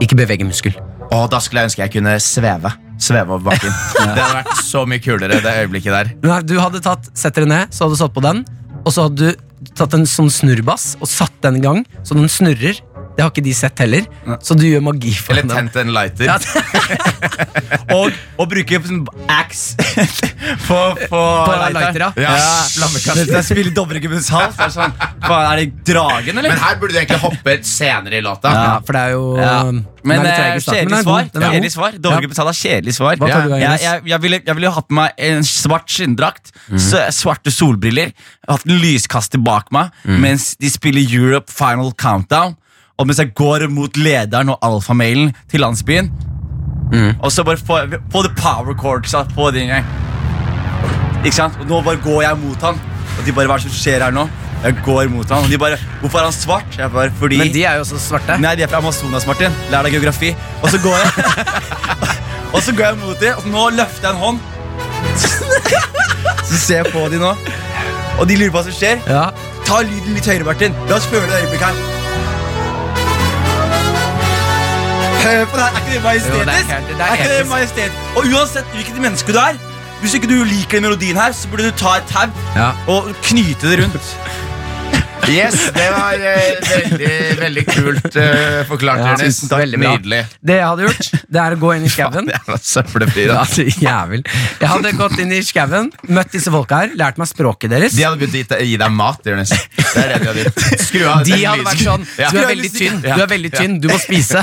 B: Ikke bevege muskel
C: Og da skulle jeg ønske jeg kunne sveve. Sveve over bakken. Det hadde vært så mye kulere, det øyeblikket der.
B: Nei, du hadde tatt Sett dere ned Så hadde du satt på den Og så hadde du tatt en sånn snurrbass Og satt den i gang Så den snurrer Det har ikke de sett heller Så du gjør magi for
C: Eller
B: den
C: tent en lighter.
B: Ja,
D: Og å bruke sånn axe på, på,
B: På lighter, ja.
C: Ja,
D: Mens jeg spiller Dovregubbens hals. Er, det sånn, faen, er det dragen, eller?
C: Men her burde du egentlig hoppe senere i låta.
B: Ja, for det er jo
D: Ja.
B: um, den
D: Men
B: er litt
D: eh,
B: treg i starten, men den
D: kjedelig
B: er
D: svar.
B: god, den er god.
D: Kjedelig svar. Dovregubbens hall er kjedelig svar.
B: Hva tar du,
D: Ja.
B: Agnes?
D: jeg, jeg, jeg, ville, jeg ville hatt på meg en svart skinndrakt, så- svarte solbriller, hatt en lyskaster bak meg mens de spiller Europe Final Countdown, og mens jeg går mot lederen og alfamailen til landsbyen. Og så bare få, få the power chordsa på den gang. Ikke sant? Og nå bare går jeg mot han. Og de bare, hva er det som skjer her nå? Jeg går mot han, og de bare, hvorfor er han svart? Jeg bare, fordi...
B: Men de er jo også svarte.
D: Nei, de er fra Amazonas, Martin. Lær deg geografi. Og så går jeg Og så går jeg mot dem, og nå løfter jeg en hånd. så ser jeg på dem nå, og de lurer på hva som skjer.
B: Ja.
D: Ta lyden litt høyere, Martin. La oss føle det øyeblikket her. Hør på det her. Er ikke
B: Jo,
D: det
B: det er
D: majestetisk?
B: helt- det er
D: ikke det
B: episk.
D: majestet? Og uansett hvilket menneske du er, hvis ikke du liker den melodien her, så burde du ta et tau
B: Ja.
D: og knyte det rundt.
C: Yes, det var eh, veldig, veldig kult eh, forklart,
B: Ja,
C: Jonis.
B: tusen takk. Veldig bra.
C: Nydelig.
B: Det jeg hadde gjort, det er å gå inn i skauen.
C: Jævla søppelfyr.
B: Ja,
C: ass.
B: altså, jævel. Jeg hadde gått inn i skauen, møtt disse folka her, lært meg språket deres.
C: De hadde begynt å gi deg- gi deg mat, Jonis. Det er det de hadde gjort. Skru av
B: De
C: den
B: hadde vært sånn
C: lyden. Ja.
B: Du er veldig tynn, du er veldig tynn, du må spise.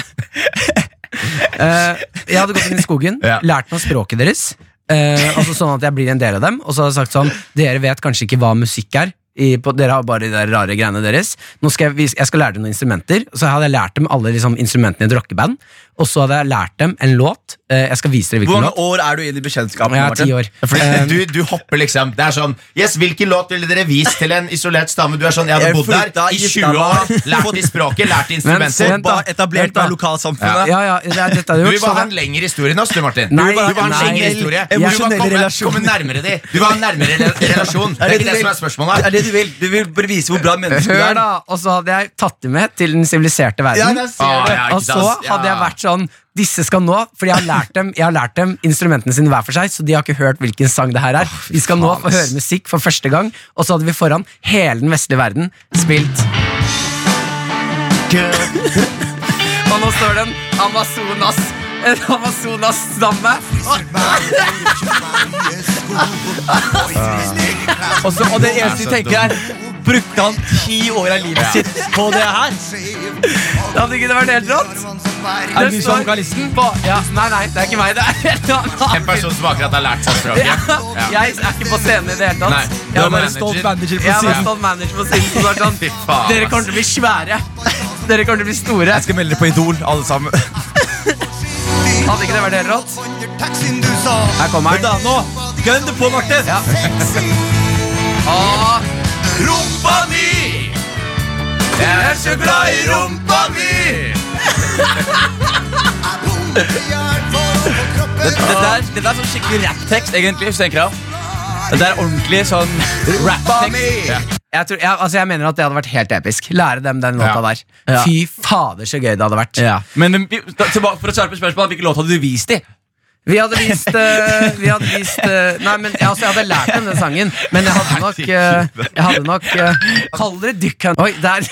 B: Eh, jeg hadde gått inn i skogen,
C: Ja.
B: lært meg språket deres. eh, altså Sånn at jeg blir en del av dem. Og så hadde jeg sagt sånn Dere vet kanskje ikke hva musikk er. I, på, dere har bare de der rare greiene deres. Nå skal jeg, vis- jeg skal lære dem noen instrumenter. Så hadde jeg lært dem alle liksom, instrumentene i et rockeband. Og så hadde jeg lært dem en låt. Eh, jeg skal vise dere hvilken
D: Hvor mange
B: låt.
D: år er du inn i bekjentskapet?
B: Jeg er ti år.
C: Fordi du, du hopper liksom Det er sånn Yes, Hvilken låt ville dere vist til en isolert stamme? Du er sånn, Jeg hadde
D: Jeg
C: bodd
D: flytta,
C: der i
D: gifta
C: 20 år,
D: meg.
C: lært de språket, lært instrumenter.
B: Eh, vent da.
D: Bare etablert
B: Vent da.
D: meg i lokalsamfunnet.
B: Ja, ja, det er dette jeg
C: Du
B: hadde gjort.
C: vil bare
B: så
C: ha
B: hadde-
C: en lengre historie enn oss, du, Martin.
B: Nei,
C: du vil bare ha en
B: nei.
C: lengre historie. Du vil
D: Emosjonelle
C: bare komme,
D: relasjoner.
C: komme nærmere de. Du vil ha en nærmere rela- relasjon. Det er ikke det som er spørsmålet.
D: Det er det du vil. Du vil bare vise hvor bra menneske du
B: Hør,
D: er.
B: da! Og så hadde jeg tatt dem med til den siviliserte verden.
D: Ja, jeg ser
C: Ah,
D: det.
C: ja,
B: og
C: ikke
B: så
C: sant? Ja.
B: hadde jeg vært sånn Disse skal nå, for jeg har lært dem, jeg har lært dem instrumentene sine hver for seg, så de har ikke hørt hvilken sang det her er. De skal nå få høre musikk for første gang, og så hadde vi foran hele den vestlige verden spilt Og nå står det en Amazonas En Amazonas-stamme.
D: Og, så, og det eneste de tenker, er Brukte han ti år av livet sitt på det her?
B: Det hadde ikke det vært helt rått?
D: Er det du som er vokalisten?
B: på ja, Nei, nei, det er ikke meg. Det er en annen.
C: En person sånn som akkurat har lært seg språket.
B: Ja. Jeg er ikke på scenen i det hele tatt.
C: Nei,
B: Jeg
C: du er
B: var-
C: bare
D: En stolt manager på
B: Jeg var
D: siden.
B: sånn manager på siden som var sånn
C: Fy faen, altså.
B: Dere
C: ass.
B: kommer til å bli svære. Dere kommer til å bli store.
D: Jeg skal melde dere på Idol, alle sammen.
B: Hadde ikke det vært helt rått? Her kommer
D: Men da,
B: han.
D: nå, Gønn det på, Martin!
B: Ja. Åh,
C: Rumpa mi! Jeg er så glad i rumpa mi!
D: Det, det, der, det der er sånn skikkelig rapptekst, egentlig. hvis du tenker deg om. Det der er ordentlig sånn rapptekst.
B: jeg, tror, jeg, altså jeg mener at det hadde vært helt episk. Lære dem den låta
C: Ja.
B: der.
D: Ja.
B: Fy fader, så gøy det hadde vært.
D: Ja. Men vi- da, tilbake for å svare på spørsmålet, hvilken låt hadde du vist i?
B: Vi hadde vist, eh, vi hadde vist eh, Nei, men ja, altså, jeg hadde lært dem den sangen, men jeg hadde nok eh, Jeg hadde nok eh, Kall dere dykkan... Oi, der!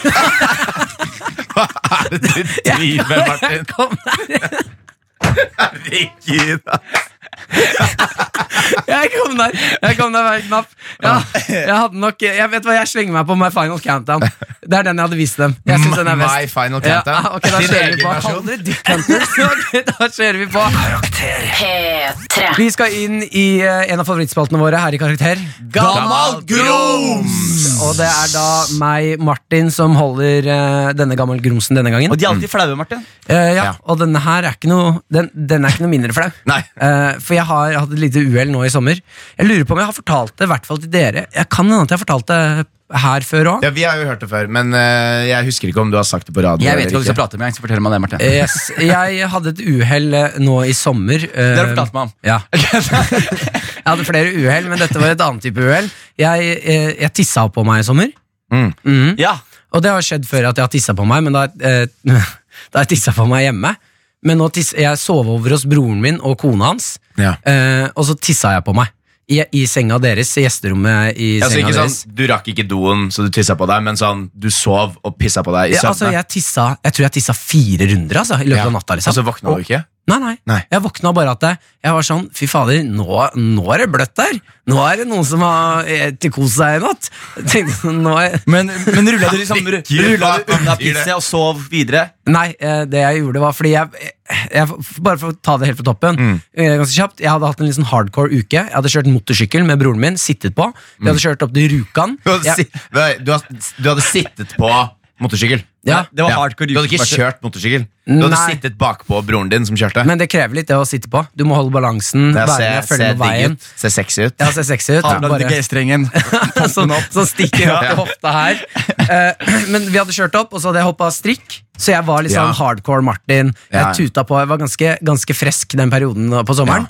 C: Hva er det du driver med, Martin?
B: Kom der.
C: Herregud.
B: Jeg kom der Jeg kom der hver knapp ja, jeg, hadde nok, jeg vet hva, jeg slenger meg på My Final Countdown Det er den jeg hadde vist dem Jeg synes den er best
C: My Final Countdown.
B: ja, ah, Ok, da
C: Din
B: kjører
C: egen
B: vi på
C: versjon.
B: Kall dere Dick Hunters Ok, Da kjører vi på
E: P3.
B: Vi skal inn i eh, en av favorittspaltene våre her i Karakter
D: Gammal grums!
B: Og det er da meg, Martin, som holder eh, denne gammel grumsen denne gangen
D: Og de er alltid flaue, Martin.
B: Eh, ja,
C: Ja.
B: og denne her er ikke noe Den, den er ikke noe mindre flau.
C: Nei.
B: Eh, for jeg har hatt et lite uhell nå i sommer. Jeg lurer på om jeg har fortalt det i hvert fall til dere. Jeg kan hende at jeg har fortalt det her før òg.
C: Ja, Vi har jo hørt det før, men eh, jeg husker ikke om du har sagt det på radio.
D: Jeg vet
C: eller
D: ikke hva du skal prate med. Så fortell meg det, Martin.
B: Eh, Yes, jeg hadde et uhell eh, nå i sommer. eh,
D: Det har du fortalt meg om.
B: Ja. Jeg hadde flere uhell, men dette var et annet type uhell. Jeg, eh, jeg tissa på meg i sommer.
D: Ja,
B: Og det har skjedd før at jeg har tissa på meg, men da, eh, da jeg tissa på meg hjemme Men nå tiss, jeg sov over hos broren min og kona hans,
C: Ja.
B: eh, og så tissa jeg på meg. I, I senga deres, i gjesterommet i
C: Altså,
B: senga
C: ikke sånn,
B: deres.
C: du rakk ikke doen, så du tissa på deg, men sånn, du sov og pissa på deg i
B: Ja, altså,
C: søvne.
B: jeg, tissa, jeg tror jeg tissa fire runder altså, i løpet av natta.
C: og
B: Liksom.
C: så våkna du ikke?
B: Nei, nei,
C: Nei.
B: Jeg våkna bare at jeg, jeg var sånn Fy fader, nå, nå er det bløtt der! Nå er det noen som har eh, tilkost seg i natt! Tenkte, sånn, nå er,
D: Men, men rulla du liksom ru-
C: Herregud,
D: rullet du
C: hva
D: unna
C: betyr det?
D: pisset og sov videre?
B: Nei, eh, det jeg gjorde var fordi jeg, jeg Bare for å ta det helt fra toppen.
C: Mm.
B: eh, Ganske kjapt Jeg hadde hatt en litt sånn hardcore uke. Jeg hadde kjørt motorsykkel med broren min. Sittet på. Vi hadde kjørt opp til Rjukan.
C: Mm. Du hadde,
B: Jeg,
C: si- Nei, du, hadde, du hadde sittet på motorsykkel.
B: Ja.
G: Det var
C: Ja.
G: hardcore
C: Du hadde ikke
G: YouTube-party.
C: kjørt motorsykkel. Du hadde
B: Nei.
C: sittet bakpå broren din som kjørte.
B: Men det krever litt det å sitte på. Du må holde balansen.
C: Det er-
B: Være med,
C: ser,
B: følge
C: ser
B: med
C: digg
B: veien.
C: ut. Ser sexy ut.
B: Ja, ser sexy ut.
G: Avlagde
B: Bare-
G: G-strengen.
B: som, som stikker opp til hofta her. Eh, men vi hadde kjørt opp, og så hadde jeg hoppa strikk. Så jeg var litt sånn
C: Ja.
B: hardcore Martin. Jeg
C: Ja.
B: tuta på, jeg var ganske, ganske fresk den perioden på sommeren.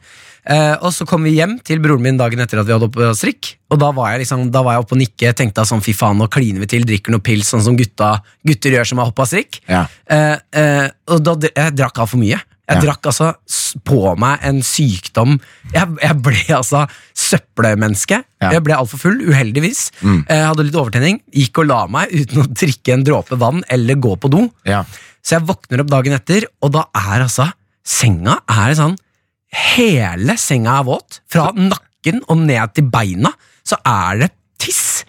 B: Eh, og så kom vi hjem til broren min dagen etter at vi hadde hoppa strikk. Og da var jeg liksom, da var jeg oppe og nikke, tenkte sånn fy faen, nå kliner vi til, drikker noe pils, sånn som gutta, gutter gjør som har hoppa strikk.
C: Ja.
B: Eh, eh, og da dr- jeg drakk av for mye. Jeg drakk altså s- på meg en sykdom. Jeg, jeg ble altså søppelmenneske.
C: Ja.
B: Jeg ble altfor full, uheldigvis. Eh, hadde litt overtenning. Gikk og la meg uten å drikke en dråpe vann eller gå på do.
C: Ja.
B: Så jeg våkner opp dagen etter, og da er altså senga er sånn Hele senga er våt. Fra nakken og ned til beina så er det tiss.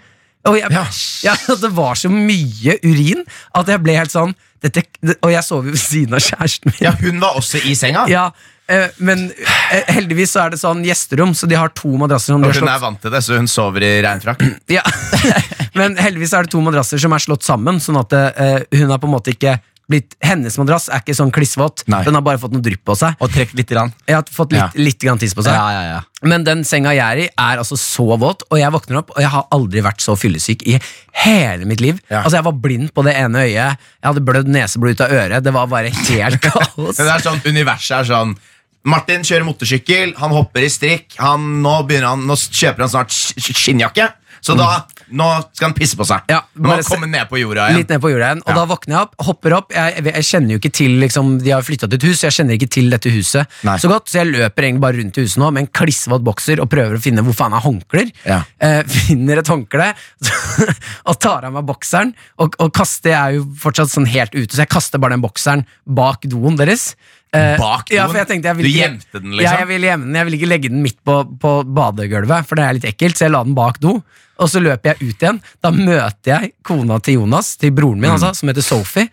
B: Og jeg, ja.
C: Ja.
B: det var så mye urin at jeg ble helt sånn dette, Og jeg sov jo ved siden av kjæresten min.
C: ja, hun var også i senga.
B: Ja, eh, men eh, heldigvis så er det sånn gjesterom, så de har to madrasser som de
C: Og
B: har
C: hun er
B: slått
C: vant til det, så hun sover i regnfrakk.
B: ja. Men heldigvis er det to madrasser som er slått sammen, sånn at eh, hun har på en måte ikke blitt Hennes madrass er ikke sånn klissvåt,
C: Nei.
B: den har bare fått noe drypp på seg.
G: Og trekk lite grann.
B: Jeg har fått litt, litt grann tiss på seg.
G: Ja, ja, ja.
B: Men den senga jeg er i, er altså så våt, og jeg våkner opp, og jeg har aldri vært så fyllesyk i hele mitt liv.
C: Ja.
B: Altså Jeg var blind på det ene øyet, jeg hadde blødd neseblod ut av øret, det var bare helt kaos.
C: Men det er sånn, universet er sånn Martin kjører motorsykkel, han hopper i strikk han, nå, begynner han, nå kjøper han snart sk- sk- skinnjakke Så da, nå skal han pisse på seg
B: Ja,
C: Nå
B: bare se-
C: kommer han ned på jorda igjen
B: Litt ned på jorda igjen, og
C: Ja.
B: da våkner jeg opp, hopper opp. Jeg, jeg kjenner jo ikke til liksom, De har flytta til et hus, så jeg kjenner ikke til dette huset
C: Nei.
B: så godt, så jeg løper egentlig bare rundt i huset nå med en klissvåt bokser og prøver å finne hvor faen er håndklær.
C: Ja.
B: Eh, finner et håndkle og tar av meg bokseren, og, og kaster Jeg er jo fortsatt sånn helt ute, så jeg kaster bare den bokseren bak doen deres. Eh,
C: Bak doen?
B: Ja, for jeg tenkte jeg ville
C: Du
B: ikke-
C: gjemte den, liksom?
B: Ja, jeg ville gjemme den. Jeg ville ikke legge den midt på, på badegulvet, for det er litt ekkelt, så jeg la den bak do. Og så løper jeg ut igjen. Da møter jeg kona til Jonas, til broren
C: Mm.
B: min, altså, som heter Sophie.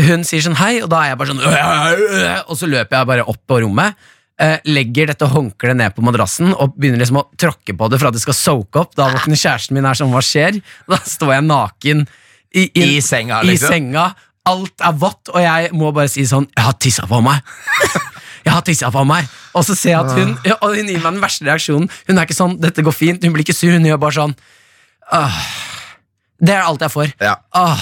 B: Hun sier sånn hei, og da er jeg bare sånn «Øh, øh, øh», Og så løper jeg bare opp på rommet. eh, Legger dette håndkleet ned på madrassen og begynner liksom å tråkke på det for at det skal soake opp. Da våkner kjæresten min her sånn, hva skjer? Da står jeg naken i,
C: I senga,
B: i
C: liksom.
B: senga. Alt er vått, og jeg må bare si sånn Jeg har tissa på meg! Jeg har tissa på meg! Og så ser jeg at hun
C: Ah.
B: ja, Og hun gir meg den verste reaksjonen. Hun er ikke sånn 'dette går fint', hun blir ikke sur, hun gjør bare sånn «Åh». Det er alt jeg får.
C: Ja.
B: Åh.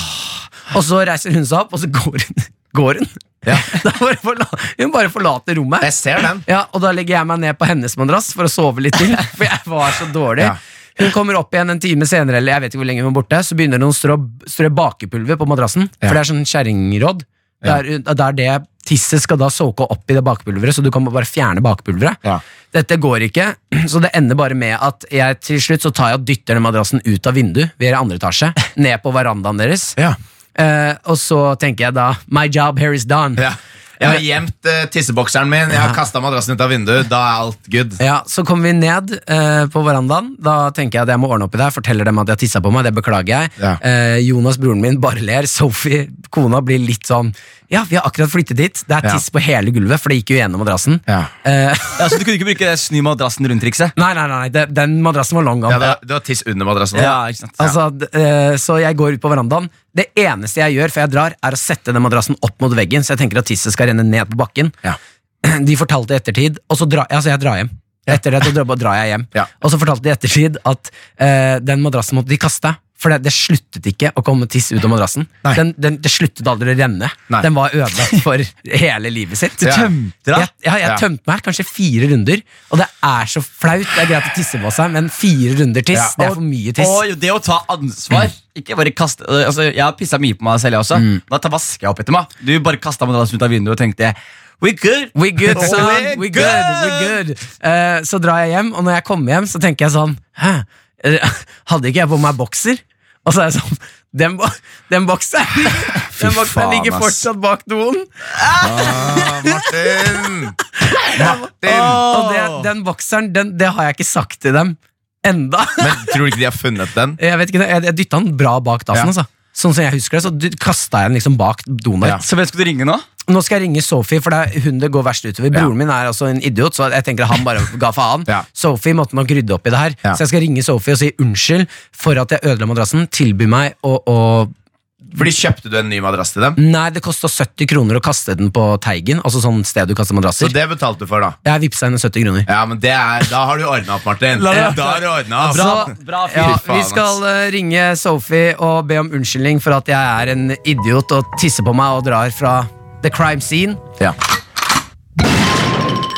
B: Og så reiser hun seg opp, og så går hun. Går hun.
C: Ja.
B: Da bare forla- hun bare forlater rommet.
C: Jeg ser den
B: Ja, og da legger jeg meg ned på hennes madrass for å sove litt til, for jeg var så dårlig.
C: Ja.
B: Hun kommer opp igjen en time senere, eller jeg vet ikke hvor lenge hun var borte, så begynner hun å strå, strø bakepulver på madrassen, for det er sånn kjerringråd. Det er, det er det tisset skal da soke opp i det bakepulveret, så du kan bare fjerne bakepulveret.
C: Ja.
B: Dette går ikke, så det ender bare med at jeg til slutt så tar jeg og dytter den madrassen ut av vinduet, vi er i andre etasje, ned på verandaen deres.
C: Ja.
B: Eh, og så tenker jeg da, my job here is done.
C: ja. Jeg har gjemt eh, tissebokseren min Jeg har kastet madrassen ut av vinduet Da er alt good
B: Ja, Så kommer vi ned eh, på verandaen. Da tenker jeg at jeg må ordne opp i det. her. Forteller dem at jeg tissa på meg. Det beklager jeg.
C: Ja.
B: Eh, Jonas, broren min, bare ler. Sophie, kona, blir litt sånn Ja, vi har akkurat flyttet dit. Det er
C: Ja.
B: tiss på hele gulvet, for det gikk jo gjennom madrassen.
C: Ja.
B: Eh,
G: Ja, så du kunne ikke bruke det sny madrassen rundt-trikset?
B: nei, nei, nei, det, den madrassen var lang gang.
C: ja, det, Du har tiss under madrassen
G: Ja, ikke sant?
B: Altså, d- eh, så jeg går ut på verandaen. Det eneste jeg gjør før jeg drar, er å sette den madrassen opp mot veggen, så jeg tenker at tisset skal renne ned på bakken.
C: Ja.
B: De fortalte i ettertid, og så drar altså jeg drar hjem. Etter det så drar drar jeg hjem.
C: Ja.
B: Og så fortalte de i ettertid at eh, den madrassen måtte de kaste. For det, det sluttet ikke å komme tiss ut av madrassen.
C: Nei.
B: Den, den, det sluttet aldri å renne.
C: Nei.
B: Den var ødelagt for hele livet sitt.
C: Ja.
G: Tømte deg?
B: Jeg, ja, jeg
C: Ja.
B: tømte meg kanskje fire runder, og det er så flaut. Det er greit å tisse på seg, men fire runder tiss,
C: Ja.
B: det er for mye tiss.
G: Og det å ta ansvar
B: Mm.
G: Ikke bare kaste øh, altså, Jeg har pissa mye på meg selv, jeg også. Da tar vasker jeg opp etter meg. Du bare kasta madrassen ut av vinduet og tenkte We good!
B: We good, son.
G: We're
B: We good. We good. Eh, så drar jeg hjem, og når jeg kommer hjem, så tenker jeg sånn Hæ? Eh, Hadde ikke jeg på meg bokser? Og så er jeg sånn Den, bo den bokseren Den bokseren
C: faen,
B: ligger
C: ass.
B: fortsatt bak doen.
C: Ah, Martin Martin
B: Og det, den bokseren, den, det har jeg ikke sagt til dem enda.
C: Men tror du ikke de har funnet den?
B: Jeg vet ikke, jeg, jeg dytta den bra bak dassen,
C: Ja.
B: altså. Sånn som jeg husker det, så du- kasta jeg den liksom bak doen. der.
C: Ja.
G: Så hvem skal du ringe nå?
B: Nå skal jeg ringe Sophie, for det er hun det går verst utover. Broren min er altså en idiot, så jeg tenker at han bare ga faen.
C: Ja.
B: Sophie måtte nok rydde opp i det her.
C: Ja.
B: Så jeg skal ringe Sophie og si unnskyld for at jeg ødela madrassen. Tilby meg å, å
C: Fordi Kjøpte du en ny madrass til dem?
B: Nei, det kosta 70 kroner å kaste den på Teigen. Altså sånn sted du kaster
C: Så
B: madrasser.
C: det betalte du for, da.
B: Jeg vippsa henne 70 kroner.
C: Ja, men det er, Da har du ordna opp, Martin. Da
B: det-
C: har du ordnet
B: Så-
C: opp
B: Ja,
C: Fy faen,
B: vi skal eh, ringe Sophie og be om unnskyldning for at jeg er en idiot og tisser på meg og drar fra the crime scene.
C: Ja.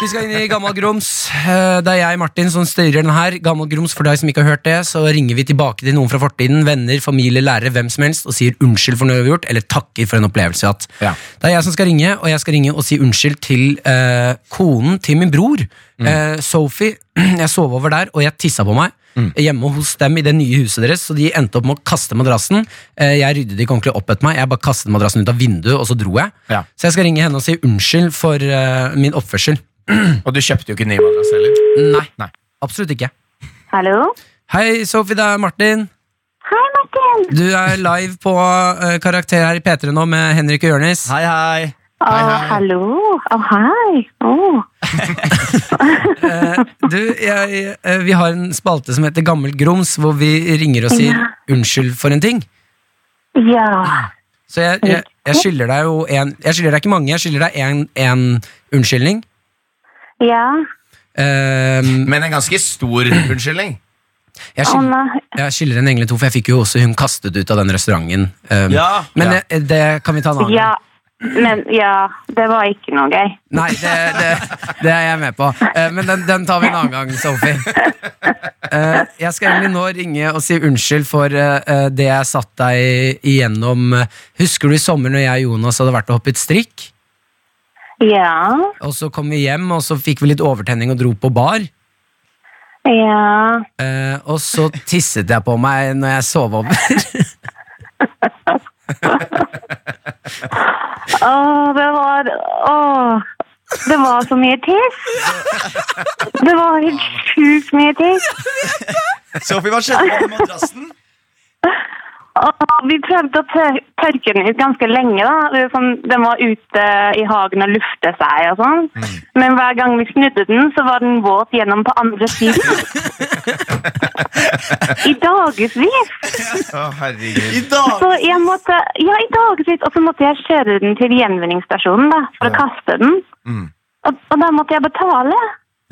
B: Vi skal inn i Gammal Grums. Eh, Det er jeg, Martin, som styrer den her. Gammal Grums, for deg som ikke har hørt det, så ringer vi tilbake til noen fra fortiden, venner, familie, lærere, hvem som helst, og sier unnskyld for noe vi har gjort, eller takker for en opplevelse vi har hatt.
C: Ja.
B: Det er jeg som skal ringe, og jeg skal ringe og si unnskyld til eh, konen til min bror,
C: Mm.
B: eh, Sophie. Jeg sov over der, og jeg tissa på meg.
C: Mm.
B: Hjemme hos dem i det nye huset deres, så de endte opp med å kaste madrassen. Eh, Jeg ryddet ikke ordentlig opp etter meg, jeg bare kastet madrassen ut av vinduet, og så dro jeg.
C: Ja.
B: Så jeg skal ringe henne og si unnskyld for eh, min oppførsel.
C: Og du kjøpte jo ikke ny madrass heller.
B: Nei,
C: Nei.
B: absolutt ikke.
H: Hallo?
B: Hei, Sofie, det er Martin.
H: Hei, Martin!
B: Du er live på eh, Karakter her i P3 nå med Henrik og Jørnis.
G: Hei, hei.
H: Å, hallo. Å, hei. Å.
B: Du, jeg, eh, vi har en spalte som heter Gammelt grums, hvor vi ringer og sier
H: Ja.
B: unnskyld for en ting.
H: Ja.
B: Så jeg, jeg, jeg skylder deg jo en Jeg skylder deg ikke mange, jeg skylder deg en, en unnskyldning.
H: Ja.
B: Ehm,
C: Men en ganske stor unnskyldning.
B: jeg,
H: Å,
B: skylder,
H: nei.
B: jeg skylder en egentlig to, for jeg fikk jo også hun kastet ut av den restauranten. Ehm,
G: Ja.
B: men eh, det kan vi ta en annen gang.
H: Ja. Men ja, det var ikke noe gøy.
B: Nei, det, det, det er jeg med på. Eh, Men den, den tar vi en annen gang, Sophie. Eh, Jeg skal egentlig nå ringe og si unnskyld for eh, eh, det jeg satt deg igjennom. Husker du i sommer når jeg og Jonas hadde vært og hoppet strikk?
H: Ja.
B: Og så kom vi hjem, og så fikk vi litt overtenning og dro på bar.
H: Ja.
B: Eh, Og så tisset jeg på meg når jeg sov over.
H: Å, det var Å. Det var så mye tiss. Det var helt sjukt mye tiss.
G: Sophie, hva skjedde med den madrassen?
H: Og vi prøvde å tør tørke den ut ganske lenge. da. Det er jo sånn, den var ute i hagen og lufte seg og sånn. Men hver gang vi snudde den, så var den våt gjennom på andre siden. I dagevis!
C: Å, herregud.
G: I dag?
H: Så jeg måtte Ja, i dagevis. Og så måtte jeg kjøre den til gjenvinningsstasjonen da, for å kaste den. Og, og da måtte jeg betale.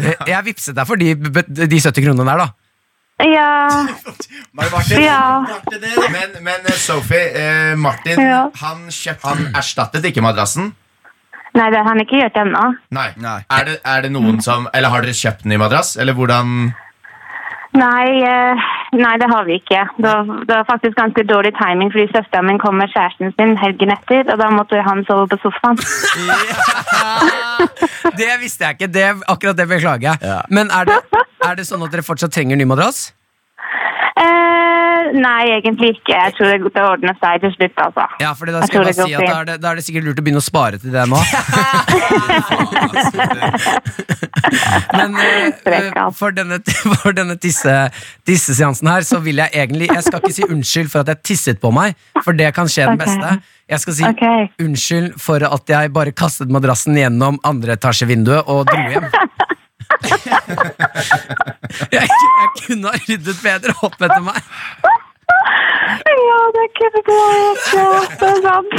B: Eh, Jeg vippset deg for de, de 70 kronene der, da.
H: Ja,
C: Martin,
H: ja.
C: Men, men eh, Sophie, eh, Martin
H: Ja.
C: han, kjøpt, han erstattet ikke madrassen.
H: Nei, det har han ikke gjort ennå.
C: Nei.
G: Nei.
C: Er, det, er det noen som Eller har dere kjøpt ny madrass? Eller hvordan
H: Nei, eh, nei, det har vi ikke. Det var, det var faktisk ganske dårlig timing, fordi søsteren min kom med kjæresten sin helgen etter, og da måtte han sove på sofaen.
B: Det visste jeg ikke. Det, akkurat det beklager jeg.
G: Ja.
B: Men er det, er det sånn at dere fortsatt trenger ny madrass?
H: Eh, nei, egentlig ikke. Jeg tror det, det ordner seg til slutt, altså.
B: Ja, fordi da
H: Jeg
B: skal
H: tror
B: jeg bare
H: det
B: si at
H: går
B: da
H: fint.
B: er, det, da er det sikkert lurt å begynne å spare til det nå. Men eh, eh, for denne, for denne tisse, tisseseansen her, så vil jeg egentlig Jeg skal ikke si unnskyld for at jeg tisset på meg, for det kan skje den
H: Ok.
B: beste. Jeg skal si
H: Ok.
B: unnskyld for at jeg bare kastet madrassen gjennom andre etasjevinduet og dro hjem. Jeg, jeg kunne ha ryddet bedre opp etter meg.
H: Ja, det kunne gå ikke. altså. Det er sant.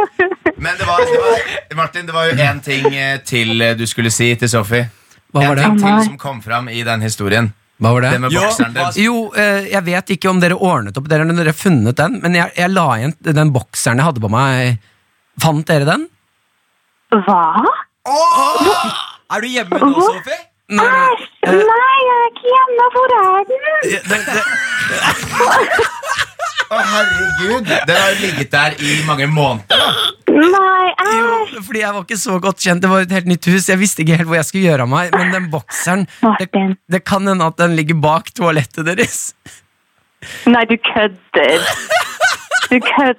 C: Men det var, det var Martin, det var jo én ting eh, til eh, du skulle si til Sophie.
B: Hva var det?
C: En ting til
H: Nei.
C: som kom fram i den historien.
B: Hva var det?
C: Det med bokseren din.
B: Jo, eh, jeg vet ikke om dere ordnet opp dere, når dere funnet den, men jeg, jeg la igjen den bokseren jeg hadde på meg. Fant dere den?
H: Hva?
G: Er du hjemme nå, Sophie?
H: Æsj!
B: Eh.
H: Nei, jeg er ikke hjemme. Hvor er den?
C: Å, herregud! Den har jo ligget der i mange måneder.
H: Nei, æsj!
B: Jo, fordi jeg var ikke så godt kjent, det var et helt nytt hus, jeg visste ikke helt hvor jeg skulle gjøre av meg, men den bokseren, det,
H: Martin.
B: det kan hende at den ligger bak toalettet deres.
H: Nei, du kødder. Du kødder.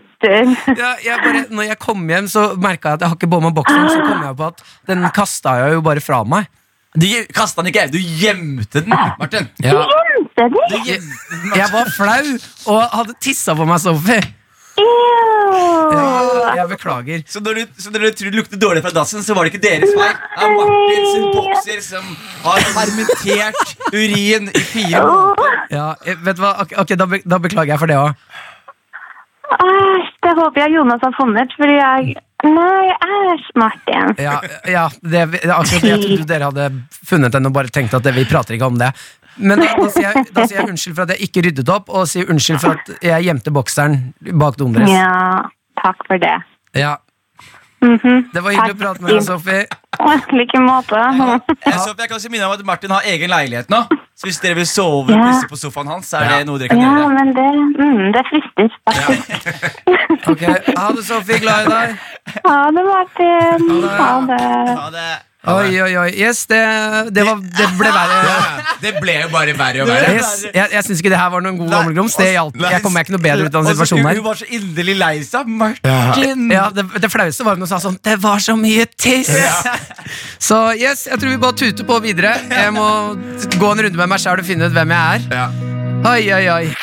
B: Ja, jeg bare, når jeg kom hjem, så merka jeg at jeg har ikke på meg bokseren, så kom jeg på at den kasta jeg jo bare fra meg.
G: Du kasta den ikke, du gjemte den, Martin.
B: Ja.
H: Gjemte de?
B: Jeg, jeg var flau og hadde tissa på meg, Sophie.
H: Ew!
B: Jeg beklager.
G: Så når, du, så når dere tror det lukter dårlig fra dassen, så var det ikke deres feil. Det er Martin sin bokser som har fermentert urin i fire måneder.
B: Ja, eh, vet du hva? Ok, ok, da, be da beklager jeg for det òg.
H: Æsj, det Det håper jeg Jonas har funnet, fordi jeg Nei, jeg er Martin.
B: Ja, ja det, det er akkurat det jeg trodde dere hadde funnet den og bare tenkt at det, vi prater ikke om det. Men da, da, sier jeg, da sier jeg unnskyld for at jeg ikke ryddet opp, og sier unnskyld for at jeg gjemte bokseren bak dumdress.
H: Ja, takk for det.
B: Ja. Det var hyggelig å prate med deg, Sofie.
H: Å, Like måte.
D: Eh, Sofie, jeg kan også minne om at Martin har egen leilighet nå. Så hvis dere vil sove og
H: Ja.
D: pisse på sofaen hans, så er det noe dere kan
H: Ja,
D: gjøre.
H: men det, mm, det frister faktisk.
B: Ok, Ha det, Sofie. Glad i deg.
H: Ha det, Martin. Ha det.
D: Ja, det
B: Oi, oi, oi. Yes, det, det, var, det ble verre.
C: Det ble jo bare verre og verre.
B: Yes, jeg jeg syns ikke det her var noen god gammelgrums. Det hjalp. Jeg kom meg ikke noe bedre ut av den
D: Og så skulle
B: situasjonen her.
D: Hun var så inderlig lei seg. Martin!
B: Ja, det, det flaueste var når hun sa sånn Det var så mye tiss! Så yes, jeg tror vi bare tuter på videre. Jeg må gå en runde med meg sjæl og finne ut hvem jeg er.
C: Ja.
B: Oi, oi, oi.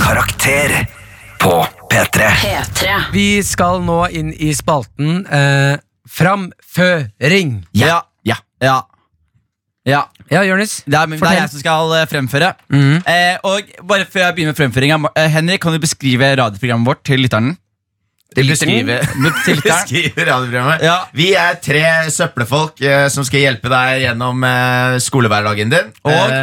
A: Karakter på P3.
E: P3.
B: Vi skal nå inn i spalten eh, Framføring.
D: Ja. Ja. ja. ja.
B: Ja, Jonis?
D: Det er, det
B: Fortell.
D: er jeg som skal eh, fremføre.
B: Mhm.
D: Eh, og bare før jeg begynner med fremføringa, Ma- eh, Henrik, kan du beskrive radioprogrammet vårt til lytteren?
C: Til beskrive,
D: Til lytteren?
C: beskrive radioprogrammet.
D: Ja.
C: Vi er tre søppelfolk eh, som skal hjelpe deg gjennom eh, skolehverdagen din.
D: Og?
C: Eh,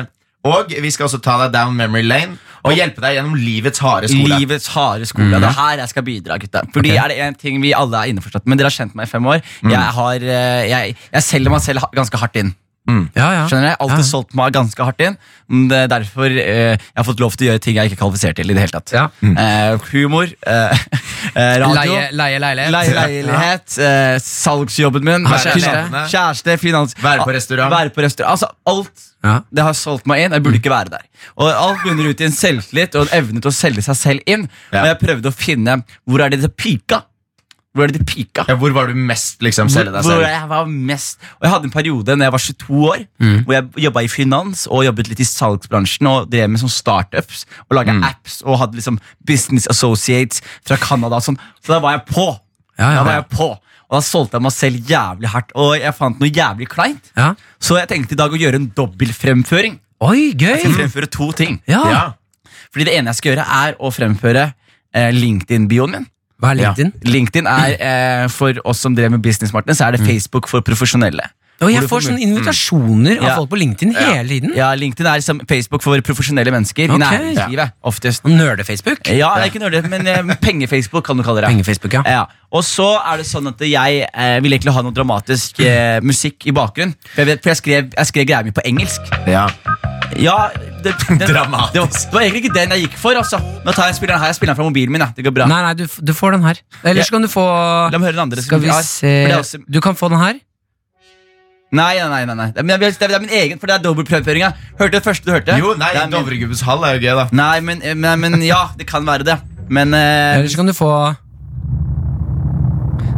C: og vi skal også ta deg down memory lane og hjelpe deg gjennom livets harde skole.
D: Livets harde skole.
B: Mhm.
D: Det er her jeg skal bidra, gutta. Fordi er det en ting vi alle er innforstått med Dere har kjent meg i fem år.
B: Mhm.
D: Jeg, har, eh, jeg, jeg selger meg selv ha- ganske hardt inn.
B: Ja, ja.
D: Skjønner jeg? Alltid
B: Ja.
D: solgt meg ganske hardt inn. Men Det er derfor eh, jeg har fått lov til å gjøre ting jeg ikke er kvalifisert til. i det hele tatt
B: Ja.
C: Mm.
D: eh, Humor, eh, eh, radio
B: Leie, leie leilighet.
D: Leie leilighet, eh, salgsjobben min,
B: Ha
D: være
B: kjæreste.
D: alene, kjæreste, finans
C: Være på restaurant.
D: Være på restaurant. Altså, alt
B: Ja. Mm.
D: det har solgt meg inn. Jeg burde ikke være der. Og Alt bunner ut i en selvtillit og en evne til å selge seg selv inn.
C: Ja.
D: Og jeg prøvde å finne hvor er det det pika. Hvor er det det pika?
C: Ja, hvor var du mest liksom selge deg
D: Hvor
C: selv?
D: jeg var mest Og jeg hadde en periode når jeg var 22 år,
B: Mm.
D: hvor jeg jobba i finans og jobbet litt i salgsbransjen og drev med sånn startups og laga
B: Mm.
D: apps og hadde liksom business associates fra Canada og sånn. Så da var jeg på.
B: Ah, Ja, ja,
D: Da var
B: ja.
D: jeg på. Og da solgte jeg meg selv jævlig hardt, og jeg fant noe jævlig kleint.
B: Ja.
D: Så jeg tenkte i dag å gjøre en dobbeltfremføring.
B: Oi,
D: Jeg skal
B: gøy!
D: fremføre to ting.
B: Mm. Ja.
C: Ja.
D: Fordi det ene jeg skal gjøre, er å fremføre eh, LinkedIn-bioen min.
B: Hva er LinkedIn?
D: LinkedIn er eh, for oss som drev med business, Martin, så
B: Mm.
D: er det Facebook for profesjonelle.
B: Og
D: Hvor
B: jeg
D: du
B: får
D: får
B: sånne invitasjoner
D: Ja.
B: av folk på LinkedIn hele tiden.
D: Ja, LinkedIn er liksom Facebook for profesjonelle mennesker
B: Ok.
D: i næringslivet, oftest.
B: Nerde-Facebook.
D: Ja, det er ikke nerdete, men eh, penge-Facebook kan du kalle det.
B: Penge-Facebook, ja.
D: Ja. Og så er det sånn at jeg eh, vil egentlig ha noe dramatisk eh, musikk i bakgrunnen. For jeg, vet, for jeg skrev, jeg skrev greia mi på engelsk.
C: Ja.
D: Ja, det, den,
C: Dramatisk.
D: Det var, det var egentlig ikke den jeg gikk for. Altså. Nå tar jeg spilleren her, jeg spiller den fra mobilen min. Ja. Det går bra.
B: Nei, nei, du, f- du får den her. Eller så kan du få
D: La meg høre den andre.
B: Skal vi
D: Ja,
B: se
D: for det er også- Eh,
B: Du kan få den her.
D: Nei, nei, nei, nei, nei. Det, er, min- det, er, det er min egen, for det er dobbeltprøvføringa. Hørte du det første du hørte?
C: Jo, nei,
D: Det er min-
C: Dovregubbens hall er jo gøy, da.
D: Nei, men, men, men ja, det kan være det. Men, eh,
B: Eller så kan du få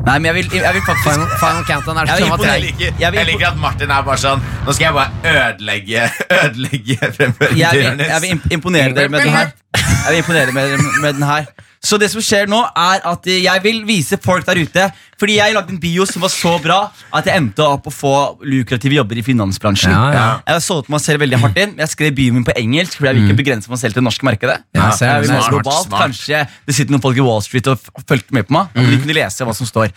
D: nei, men jeg, vil, jeg vil faktisk
B: Final, final Countdown. Er det
D: Jeg
B: sånn
D: vil
B: at
D: imponere
B: jeg
C: Jeg liker,
D: Jeg vil-
C: jeg liker at Martin er bare sånn Nå skal jeg bare ødelegge Ødelegge
D: jeg vil,
C: fremføringen
D: jeg vil imp- imponere dere med den her. Jeg vil imponere med, med den her Så det som skjer nå, er at jeg vil vise folk der ute Fordi jeg lagde en bio som var så bra at jeg endte opp å få lukrative jobber i finansbransjen.
B: Ja, ja.
D: Jeg har solgt meg selv veldig hardt inn. men Jeg skrev bioen min på engelsk fordi jeg vil ikke begrense meg selv til det norske markedet.
B: Mm. Ja, jeg ser det.
D: jeg vil være
B: Smart, Mm.
D: globalt.
C: smart.
D: Kanskje det sitter noen folk i Wall Street og f- fulgte med på meg. Og de kunne lese hva som står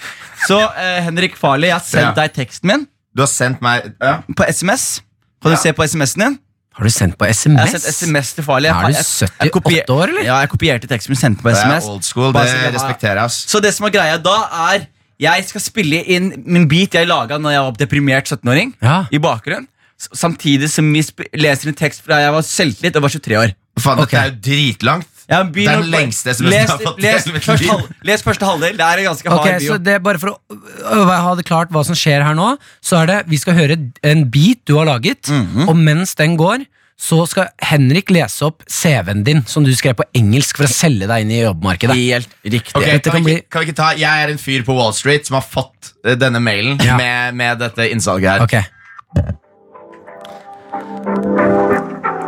D: Så eh, Henrik Farley, jeg har sendt
C: Ja.
D: deg teksten min
C: Du har sendt meg ja.
D: på SMS. Kan du
C: Ja.
D: se på SMS-en din?
B: Har du sendt på
D: Jeg har
B: SMS?
D: sendt SMS til farlig.
B: Er du
D: Jeg- jeg- jeg
B: 78
D: kopier-
B: år, eller?
D: Ja, jeg kopierte teksten min, sendte på
C: Det
D: SMS.
C: er old school, det
D: Bare så vi har-
C: respekterer jeg ass.
D: Så det som er greia da, er jeg skal spille inn min beat jeg laga når jeg var deprimert 17-åring,
B: Ja.
D: i bakgrunnen. s- Samtidig som vi sp- leser en tekst fra jeg var selvtillit og var 23 år.
C: Faen,
B: Ok.
C: dette er jo dritlangt
D: Jeg begynner
C: Den
D: å-
C: lengste SMS-en
D: les,
C: jeg har fått i
D: les,
C: hele mitt
D: først
C: liv.
D: halv, les første halvdel. Det er en ganske
B: Ok,
D: hard bio.
B: så det er Bare for å øh, ha det klart hva som skjer her nå, så er det vi skal høre en beat du har laget,
D: Mhm.
B: og mens den går, så skal Henrik lese opp CV-en din, som du skrev på engelsk for å selge deg inn i jobbmarkedet.
D: Helt riktig.
C: Ok,
B: Dette
C: kan,
B: kan
C: vi,
B: bli-
C: ikke- kan vi ikke ta Jeg er en fyr på Wall Street som har fått eh, denne mailen
B: Ja.
C: med, med dette innsalget her
B: Ok,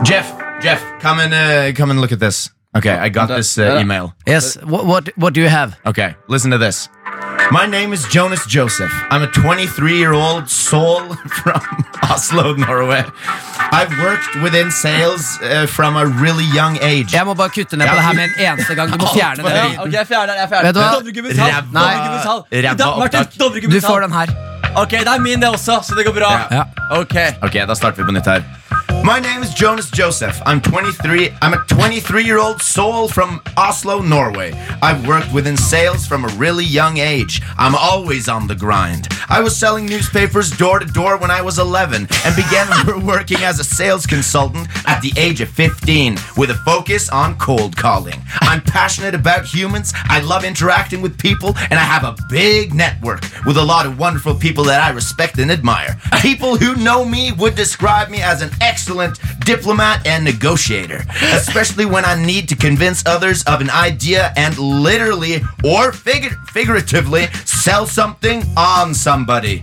C: Jeff, Jeff, come and, uh, come and look at this Okay, I got this uh, email
B: yes, what, what, what do you have?
C: Okay, listen to this My name is Jonas Joseph. I'm a 23 year old soul from Oslo, Norway. I've worked within sales uh, from a really young age.
B: Jeg må bare kutte ned på det her med en eneste gang. Du må fjerne den lyden.
D: Ok, jeg fjerner den. jeg fjerner
B: Vet du hva?
D: Dovregubbens hall.
C: Ræva-
D: Dovregubbens hall. I
C: ræva
D: dag- Martin,
C: opptak.
B: Du
D: Dovregubbens
B: får
D: hall.
B: den her.
D: Ok, det er min det også, så det går bra.
B: Ja.
D: Ok.
C: Ok, da starter vi på nytt her. My name is Jonas Joseph. I'm 23. I'm a 23-year-old soul from Oslo, Norway. I've worked within sales from a really young age. I'm always on the grind. I was selling newspapers door to door when I was 11 and began working as a sales consultant at the age of 15 with a focus on cold calling. I'm passionate about humans. I love interacting with people and I have a big network with a lot of wonderful people that I respect and admire. People who know me would describe me as an excellent diplomat and negotiator, especially when I need to convince others of an idea and literally or figur- figuratively sell something on somebody.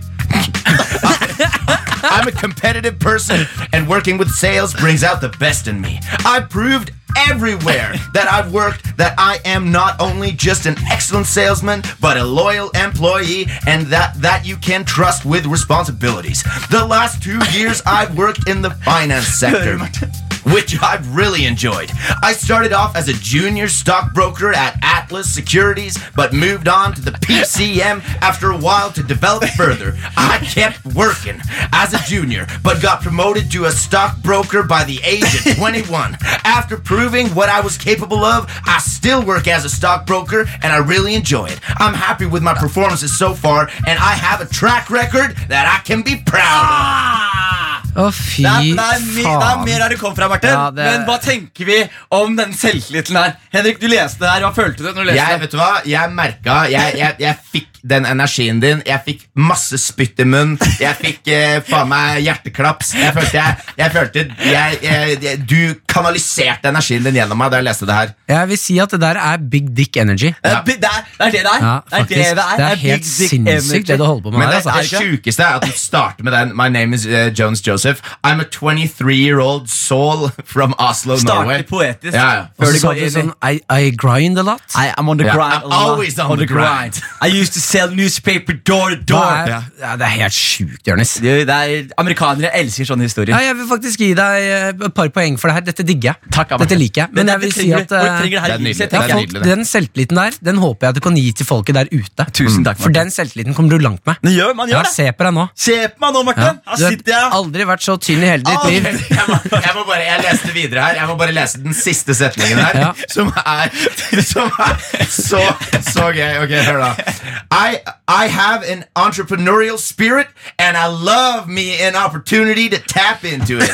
C: I'm a competitive person, and working with sales brings out the best in me. I proved everywhere that I've worked that I am not only just an excellent salesman, but a loyal employee, and that that you can trust with responsibilities. The last two years, I've worked in the finance sector. Which I've really enjoyed. I started off as a junior stockbroker at Atlas Securities, but moved on to the PCM after a while to develop further. I kept working as a junior, but got promoted to a stockbroker by the age of 21. After proving what I was capable of, I still work as a stockbroker and I really enjoy it. I'm happy with my performances so far, and I have a track record that I can be proud of.
B: Å, fy
D: Det er, det, er, mi- det er mer
B: faen.
D: her det kom fra, Martin.
B: Ja, det-
D: Men hva tenker vi om den selvtilliten her? Henrik, du leste det her. Hva følte du når du leste
C: Jeg,
D: det?
C: vet du hva? Jeg merka jeg, jeg, jeg fikk den energien din. Jeg fikk masse spytt i munnen. Jeg fikk eh, faen meg hjerteklaps. Jeg følte, jeg, jeg følte jeg, jeg, jeg, Du kanaliserte energien din gjennom meg da jeg leste det her.
B: Jeg vil si at det der er big dick energy.
D: Det er, det er det er det det er.
B: Ja,
D: det er
B: faktisk.
D: det det er.
B: Det er
D: big
B: helt
D: dick
B: sinnssykt det
D: energy.
B: du holder på med
C: Men
B: her.
C: det, det
B: Altså.
C: sjukeste er at du starter med den. My name is eh, Jones Joseph. I'm a 23 year old soul from Oslo,
D: Starter
C: Norway.
D: poetisk.
C: Ja, ja.
B: Og
D: Før
B: så
D: det
B: sa
D: går
B: du
D: inn i-
B: sånn I, I grind a lot.
D: I, I'm on the
C: Ja.
D: grind.
C: I'm
D: a lot.
C: always on the grind.
D: I used to sell newspaper door to
B: Det
D: door.
B: er, ja, det er helt sjukt, Jonis.
D: Det er, det er, amerikanere elsker sånne historier.
B: Ja, jeg vil faktisk gi deg eh, et par poeng for det her. Dette digger jeg.
D: Takk, Amartya.
B: Dette liker jeg. Men
D: Dette
B: jeg vil si
D: trenger-
B: at eh,
D: folk trenger det her
C: Det er
D: i livet
C: nydelig.
D: sitt,
B: ja,
C: Det er
D: tenker jeg.
B: folk,
C: nydelig, det.
B: den selvtilliten der Den håper jeg at du kan gi til folket der ute. Mm.
D: Tusen takk,
B: For
D: Martin.
B: den selvtilliten kommer du langt med.
D: Den gjør, man
B: Ja,
D: gjør det.
B: se på deg nå.
D: Se på meg nå,
B: Ja.
D: Martin. Her
B: Du
D: sitter jeg.
B: har aldri vært så tynn i hele ditt
C: Ok,
B: liv.
C: Jeg, må, jeg, må bare, jeg leste videre her. Jeg må bare lese den siste setningen her,
B: Ja.
C: som er, som er så, så gøy. Ok, hør da. I, I have an entrepreneurial spirit, and I love me an opportunity to tap into it.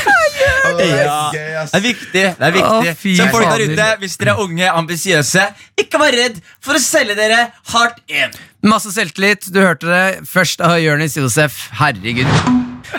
C: Å, det er
D: Ja.
C: gøy, ass.
D: Det er viktig. det er viktig
B: Å, fy
D: Så folk der
B: fader.
D: ute, hvis dere er unge, ambisiøse, ikke vær redd for å selge dere hardt inn.
B: Masse selvtillit. Du hørte det først av Jonis Josef. Herregud.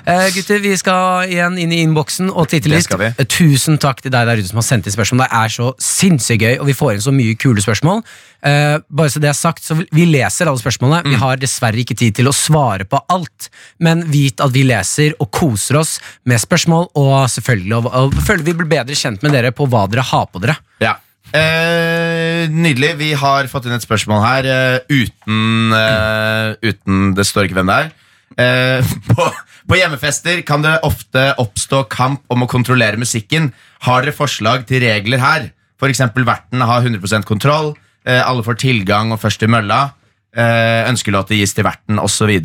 B: Eh, gutter, vi skal igjen inn i innboksen og titte
C: Det
B: litt.
C: skal vi.
B: Eh, Tusen takk til deg der ute som har sendt inn spørsmål. Det er så sinnssykt gøy, og vi får inn så mye kule spørsmål. Eh, bare så det er sagt, så vil- Vi leser alle spørsmålene.
C: Mm.
B: Vi har dessverre ikke tid til å svare på alt, men vit at vi leser og koser oss med spørsmål, og selvfølgelig og, og, føler vi blir bedre kjent med dere på hva dere har på dere.
C: Ja. Eh, nydelig. Vi har fått inn et spørsmål her eh, uten, eh, uten Det står ikke hvem det er. Eh, på, på hjemmefester kan det ofte oppstå kamp om å kontrollere musikken. Har dere forslag til regler her? F.eks. verten har 100 kontroll, eh, alle får tilgang og først til mølla. Eh, ønskelåter gis til verten, osv.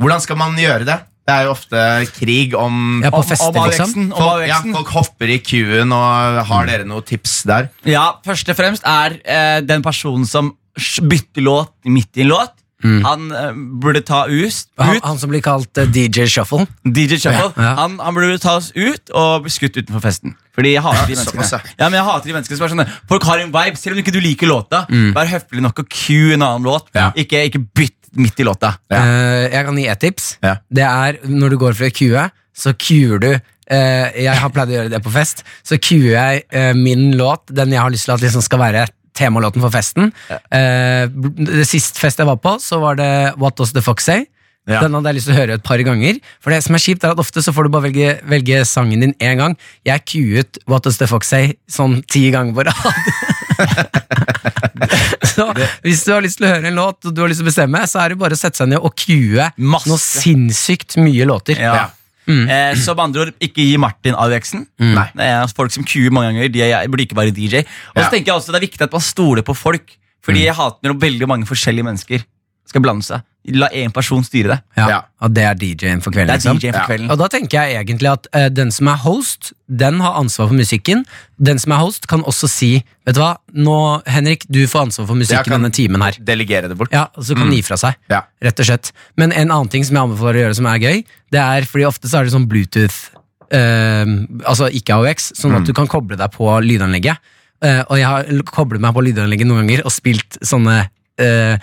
C: Hvordan skal man gjøre det? Det er jo ofte krig om
B: Ja, på
D: Om-
B: fester,
D: om
B: liksom.
D: avveksten, om
C: Folk, ja,
D: avveksten.
C: folk hopper i queuen, og
B: Mm.
C: har dere noen tips der?
D: Ja, først og fremst er eh, den personen som sj- bytter låt midt i en låt, han eh, burde ta us
B: Han,
D: ut.
B: han som blir kalt eh, DJ Shuffle.
D: DJ Shuffle.
B: Ja, ja.
D: Han, han burde ta oss ut og bli skutt utenfor festen. Fordi jeg hater de menneskene.
C: såpass, ja.
D: Ja, men jeg hater de menneskene som er sånn Folk har en vibe, selv om ikke du liker låta. Vær høflig nok og cue en annen låt.
C: Ja.
D: Ikke, ikke bytt midt i låta.
B: Eh, jeg kan gi et tips.
C: Ja.
B: Det er når du går fra queue, så queuer du eh, Jeg har pleid å gjøre det på fest. Så queuer jeg eh, min låt, den jeg har lyst til at liksom skal være temalåten for festen. Eh, det sist fest jeg var på, så var det What Does The Fox Say?
C: Ja.
B: Den hadde jeg lyst til å høre et par ganger. For det som er kjipt er at Ofte så får du bare velge, velge sangen din én gang. Jeg queuet What Does The Fox Say sånn ti ganger på rad. Så hvis du har lyst til å høre en låt, og du har lyst til å bestemme, så er det bare å sette seg ned og queue
D: Masse.
B: noe sinnssykt mye låter.
D: Ja. Eh, så med andre ord, ikke gi Martin AUX-en.
B: Nei.
D: Det er folk som queuer mange ganger, de er, burde ikke være DJ. Og så
C: Ja.
D: tenker jeg også Det er viktig at man stoler på folk, Fordi jeg hater når veldig mange forskjellige mennesker skal blande seg. La én person styre det.
B: Ja.
C: Ja.
B: Og det er DJ-en for kvelden.
D: Det er
B: liksom.
D: DJ-en for kvelden.
B: Og da tenker jeg egentlig at eh, den som er host, den har ansvar for musikken. Den som er host, kan også si Vet du hva, nå, Henrik, du får ansvar for
C: Jeg
B: musikken
C: kan
B: denne timen her.
C: Delegere det bort.
B: Ja, og så kan den gi fra seg,
C: Ja.
B: rett og slett. Men en annen ting som jeg anbefaler å gjøre som er gøy, det er fordi ofte så er det sånn Bluetooth, eh, altså ikke AUX, sånn at du kan koble deg på lydanlegget. Eh, og jeg har l- koblet meg på lydanlegget noen ganger og spilt sånne eh,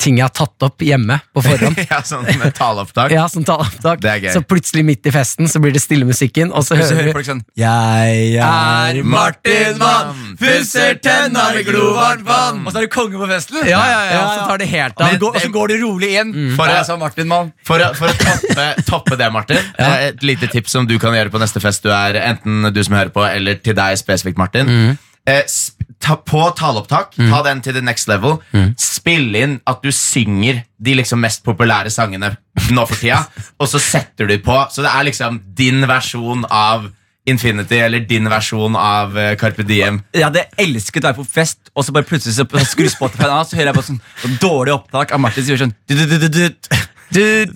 B: ting jeg har tatt opp hjemme på forhånd.
C: ja, sånn med taleopptak.
B: Ja, som taleopptak.
C: Det er gøy.
B: Så plutselig midt i festen så blir det stille musikken, og så
D: Og så
B: hører
D: hører
B: du
D: folk sånn Jeg er Martin Vann, pusser tenna med glovarmt vann. Og så er du konge på festen.
B: ja, ja, ja, så tar det helt
D: Og
B: av.
D: så går- og så går du rolig inn.
C: For- sånn
D: jeg sa Martin Mann.
C: For å, for å toppe, toppe det, Martin, eh, et lite tips som du kan gjøre på neste fest du er, enten du som hører på, eller til deg spesifikt, Martin. Eh, sp ta, på taleopptak, ta den til the next level. Spill inn at du synger de liksom mest populære sangene nå for tida, og så setter du på. Så det er liksom din versjon av Infinity, eller din versjon av eh, Carpe Diem.
D: Jeg hadde elsket å være på fest, og så bare plutselig så så skrur Spotify av, så hører jeg på sånn sånn dårlig opptak av Martin som gjør sånn du-du-du-du-du.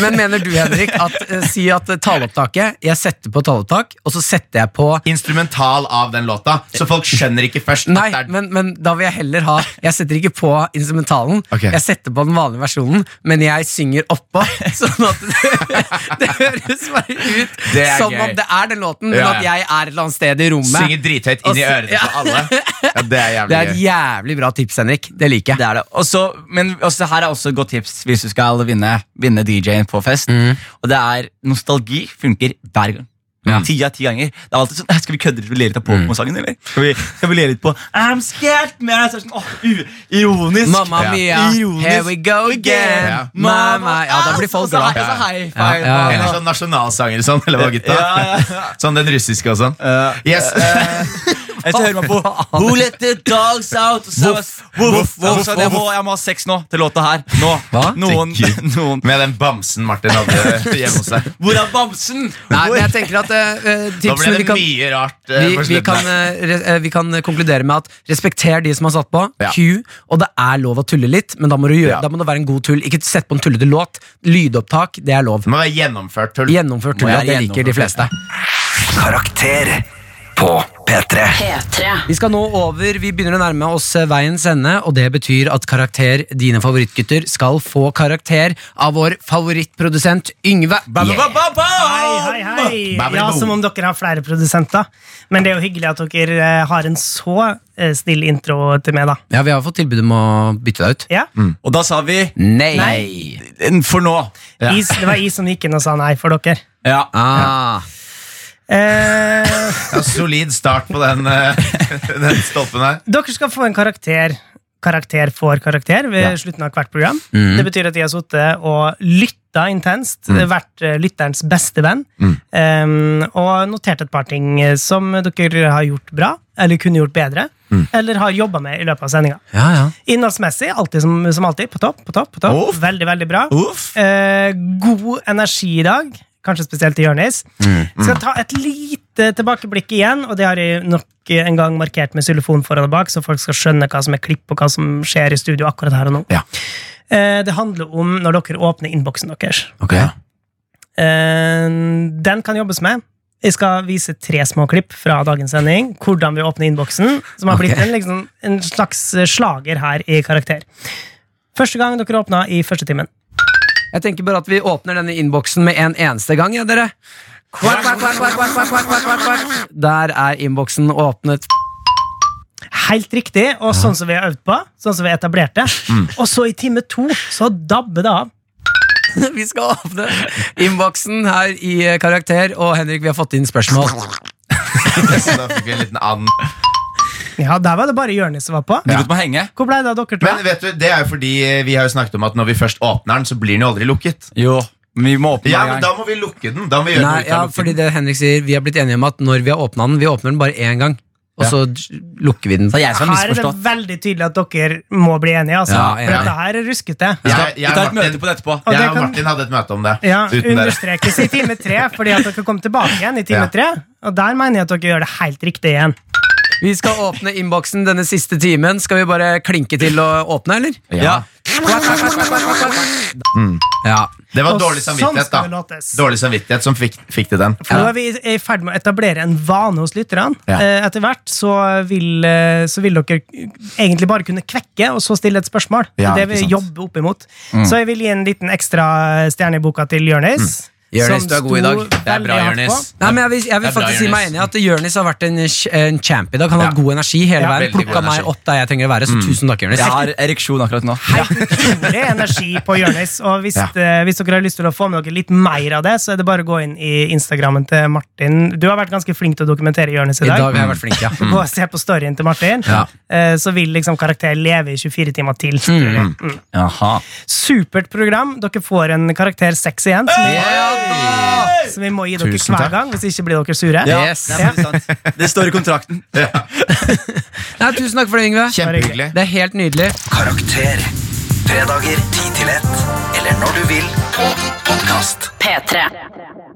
B: Men mener du, Henrik, at eh, si at eh, taleopptaket Jeg setter på taleopptak, og så setter jeg på
C: Instrumental av den låta, så folk skjønner ikke først
B: Nei,
C: at det er
B: men, men da vil jeg heller ha Jeg setter ikke på instrumentalen.
C: Ok.
B: Jeg setter på den vanlige versjonen, men jeg synger oppå. Sånn at det, det høres bare ut
C: Det er
B: som
C: gøy.
B: om det er den låten, men
C: Ja,
B: at
C: ja.
B: jeg er et eller annet sted i rommet.
C: Synger drithøyt inn i
B: Og
C: ørene
B: så-
C: på alle. Ja, det
B: Det
C: er
B: er
C: jævlig
B: et
C: gøy.
B: jævlig bra tips, Henrik. Det liker jeg.
D: Det er det. Og så- men også, her er også et godt tips hvis du skal vinne, vinne DJ-en på fest.
B: Mm.
D: Og det er nostalgi funker hver gang. Ti av ti ganger. Det er alltid sånn, «Æ, Skal vi kødde litt og le litt
B: Mm.
D: av Pokémon-sangen, eller? Skal vi, skal vi le litt på I'm scared, man. Så er det Sånn, åh, u- ironisk.
B: Mamma
C: Ja.
B: mia,
D: Ironisk.
B: here we go again.
C: Ja. Ah,
B: Mamma Ja, da blir folk
D: Og så- og
B: glad.
D: så high
B: Ja,
D: five.
B: ja, ja.
C: Eller sånn nasjonalsanger sånn, eller hva gutta? Sånn den russiske og sånn. Yes.
D: Jeg skal høre meg på Who let the dogs out? Og så- Voff, voff, voff. Så det må- Jeg må ha sex nå til låta her. Nå.
B: Hva?
D: Noen,
C: Gud.
D: noen.
C: Med den bamsen Martin hadde hjemme hos seg.
D: Hvor er bamsen?
B: Nei,
D: Hvor-
B: men jeg tenker at eh, eh,
C: Da ble
B: tipsene vi
C: det
B: kan
C: mye rart. eh,
B: vi,
C: på
B: vi,
C: slutten
B: kan,
C: her.
B: eh, re- eh, vi kan konkludere med at respekter de som har satt på,
C: Ja.
B: Q, og det er lov å tulle litt, men da må, du gjøre,
C: Ja.
B: da må det være en god tull. Ikke sett på en tullete låt. Lydopptak, det er lov.
C: Det må være gjennomført tull.
B: Gjennomført tull,
D: Må
B: ja,
D: jeg
B: det liker de fleste.
D: gjennomføre
A: Karakter på P3.
E: P3.
B: Vi skal nå over, vi begynner å nærme oss eh, veiens ende, og det betyr at karakter, dine favorittgutter, skal få karakter av vår favorittprodusent Yngve.
D: Ba, ba, ba.
I: Hei, hei, hei.
C: Bam,
I: Ja,
C: bam.
I: som om dere har flere produsenter. Men det er jo hyggelig at dere eh, har en så eh, snill intro til meg, da.
B: Ja, vi har fått tilbud om å bytte deg ut.
I: Ja?
D: Og da sa vi
B: Nei!
D: For nå.
I: Jeg- det var jeg som gikk inn og sa nei for dere.
D: Ja.
B: Ah.
I: Eh,
C: Ja, solid start på den, eh, den stolpen her.
I: dere skal få en karakter. Karakter for karakter ved slutten av hvert program. Det betyr at jeg har sittet og lytta intenst, vært eh, lytterens beste venn, eh, og notert et par ting eh, som dere har gjort bra, eller kunne gjort bedre, eller har jobba med i løpet av sendinga.
B: Ja, ja.
I: Innholdsmessig, alltid som, som alltid, på topp. på topp, på topp. Veldig, veldig bra.
D: Uff.
I: Eh, god energi i dag, kanskje spesielt til Jonis.
B: Mm,
I: Skal ta et lite tilbakeblikk igjen, og det har jeg nok en gang markert med xylofon foran og bak, så folk skal skjønne hva som er klipp, og hva som skjer i studio akkurat her og nå.
C: Ja.
I: Eh, det handler om når dere åpner innboksen deres.
B: Ok.
I: Eh, den kan jobbes med. Jeg skal vise tre små klipp fra dagens sending. Hvordan vi åpner innboksen, som har
B: Ok.
I: blitt en, liksom, en slags slager her i karakter. Første gang dere åpna i første timen.
B: Jeg tenker bare at vi åpner denne innboksen med en eneste gang, ja, dere. Kvakk, kvakk, kvakk, kvakk, kvakk, kvakk, kvakk, kvakk, kvakk. Der er innboksen åpnet.
I: Helt riktig, og sånn som vi har øvd på. Sånn som vi etablerte.
C: Mm.
I: Og så i time to så dabber det av.
B: Vi skal åpne innboksen her i eh, Karakter, og Henrik, vi har fått inn spørsmål.
C: Så da fikk vi en liten and.
I: Ja, Der var det bare Jonis som var på.
D: Du lot meg henge.
I: Hvor ble det av dere to?
C: Men vet du, det er jo fordi eh, vi har jo snakket om at når vi først åpner den, så blir den jo aldri lukket.
D: Jo, men vi må åpne
C: Ja,
D: hver
C: men
D: gang.
C: da må vi lukke den. Da må vi gjøre
B: Nei,
C: noe ut
B: ja,
C: av å lukke
B: fordi det Henrik sier, Vi har blitt enige om at når vi har åpna den, vi åpner den bare én gang. og så lukker vi den.
G: Det er jeg som har
I: Her er det
G: misforstått.
I: veldig tydelig at dere må bli enige, altså.
B: Ja,
I: For
B: enig.
I: dette her er ruskete.
C: Jeg, jeg,
G: Vi tar et
C: Martin,
G: møte på det etterpå.
I: Og det
C: jeg og
I: kan-
C: Martin hadde et møte om det.
I: Ja,
C: uten dere.
I: understrekes i time tre, fordi at dere kommer tilbake igjen i time
C: Ja.
I: tre. Og der mener jeg at dere gjør det helt riktig igjen.
B: Vi skal åpne innboksen denne siste timen. Skal vi bare klinke til og åpne, eller?
G: Ja.
B: Ja.
C: Det var
I: Og
C: dårlig
I: sånn
C: samvittighet,
I: skal det
C: da.
I: låtes.
C: Dårlig samvittighet som fikk, fikk til den.
I: For Nå er vi i- i ferd med å etablere en vane hos lytterne.
C: Ja.
I: Eh, Etter hvert så vil, eh, så vil dere egentlig bare kunne kvekke og så stille et spørsmål.
C: Ja, ikke
I: det er det vi
C: sant.
I: jobber opp imot.
B: Mm.
I: Så jeg vil gi en liten ekstra stjerne i boka til Jonis.
B: Mm. Jonis,
I: som
B: du er god i dag.
I: sto
B: Det
C: er bra,
I: veldig hardt
C: Jonis.
I: på.
B: Nei, men jeg vil, jeg vil
C: Det er bra,
B: faktisk si meg
C: Jonis.
B: enig i at Jonis har vært en, ch- en champ i dag. Han har hatt god energi hele veien.
C: veldig god
B: Plukka meg
C: energi. Mm.
B: opp der jeg trenger å være, så tusen takk, Jonis.
G: Jeg har ereksjon akkurat nå.
I: Helt utrolig energi på Jonis. Og hvis, eh, hvis dere har lyst til å få med dere litt mer av det, så er det bare å gå inn i Instagrammen til Martin. Du har vært ganske flink til å dokumentere Jonis i
B: I
I: dag.
B: dag har jeg vært flink, ja.
C: Mm.
I: Gå og se på storyen til Martin,
B: Ja.
I: eh, så vil liksom karakteren leve i 24 timer til. Mm.
G: Jaha.
I: Supert program. Dere får en karakter 6 igjen, som vi, som vi må gi dere
C: Tusen takk.
I: hver gang, hvis ikke blir dere sure.
G: Ja,
B: Yes.
G: det, er veldig sant. det står i kontrakten.
B: Nei, tusen takk for det, Yngve.
C: Kjempehyggelig.
B: Det er helt nydelig.
A: Karakter. Fredager 10 til 1. Eller når du vil på podkast.
E: P3.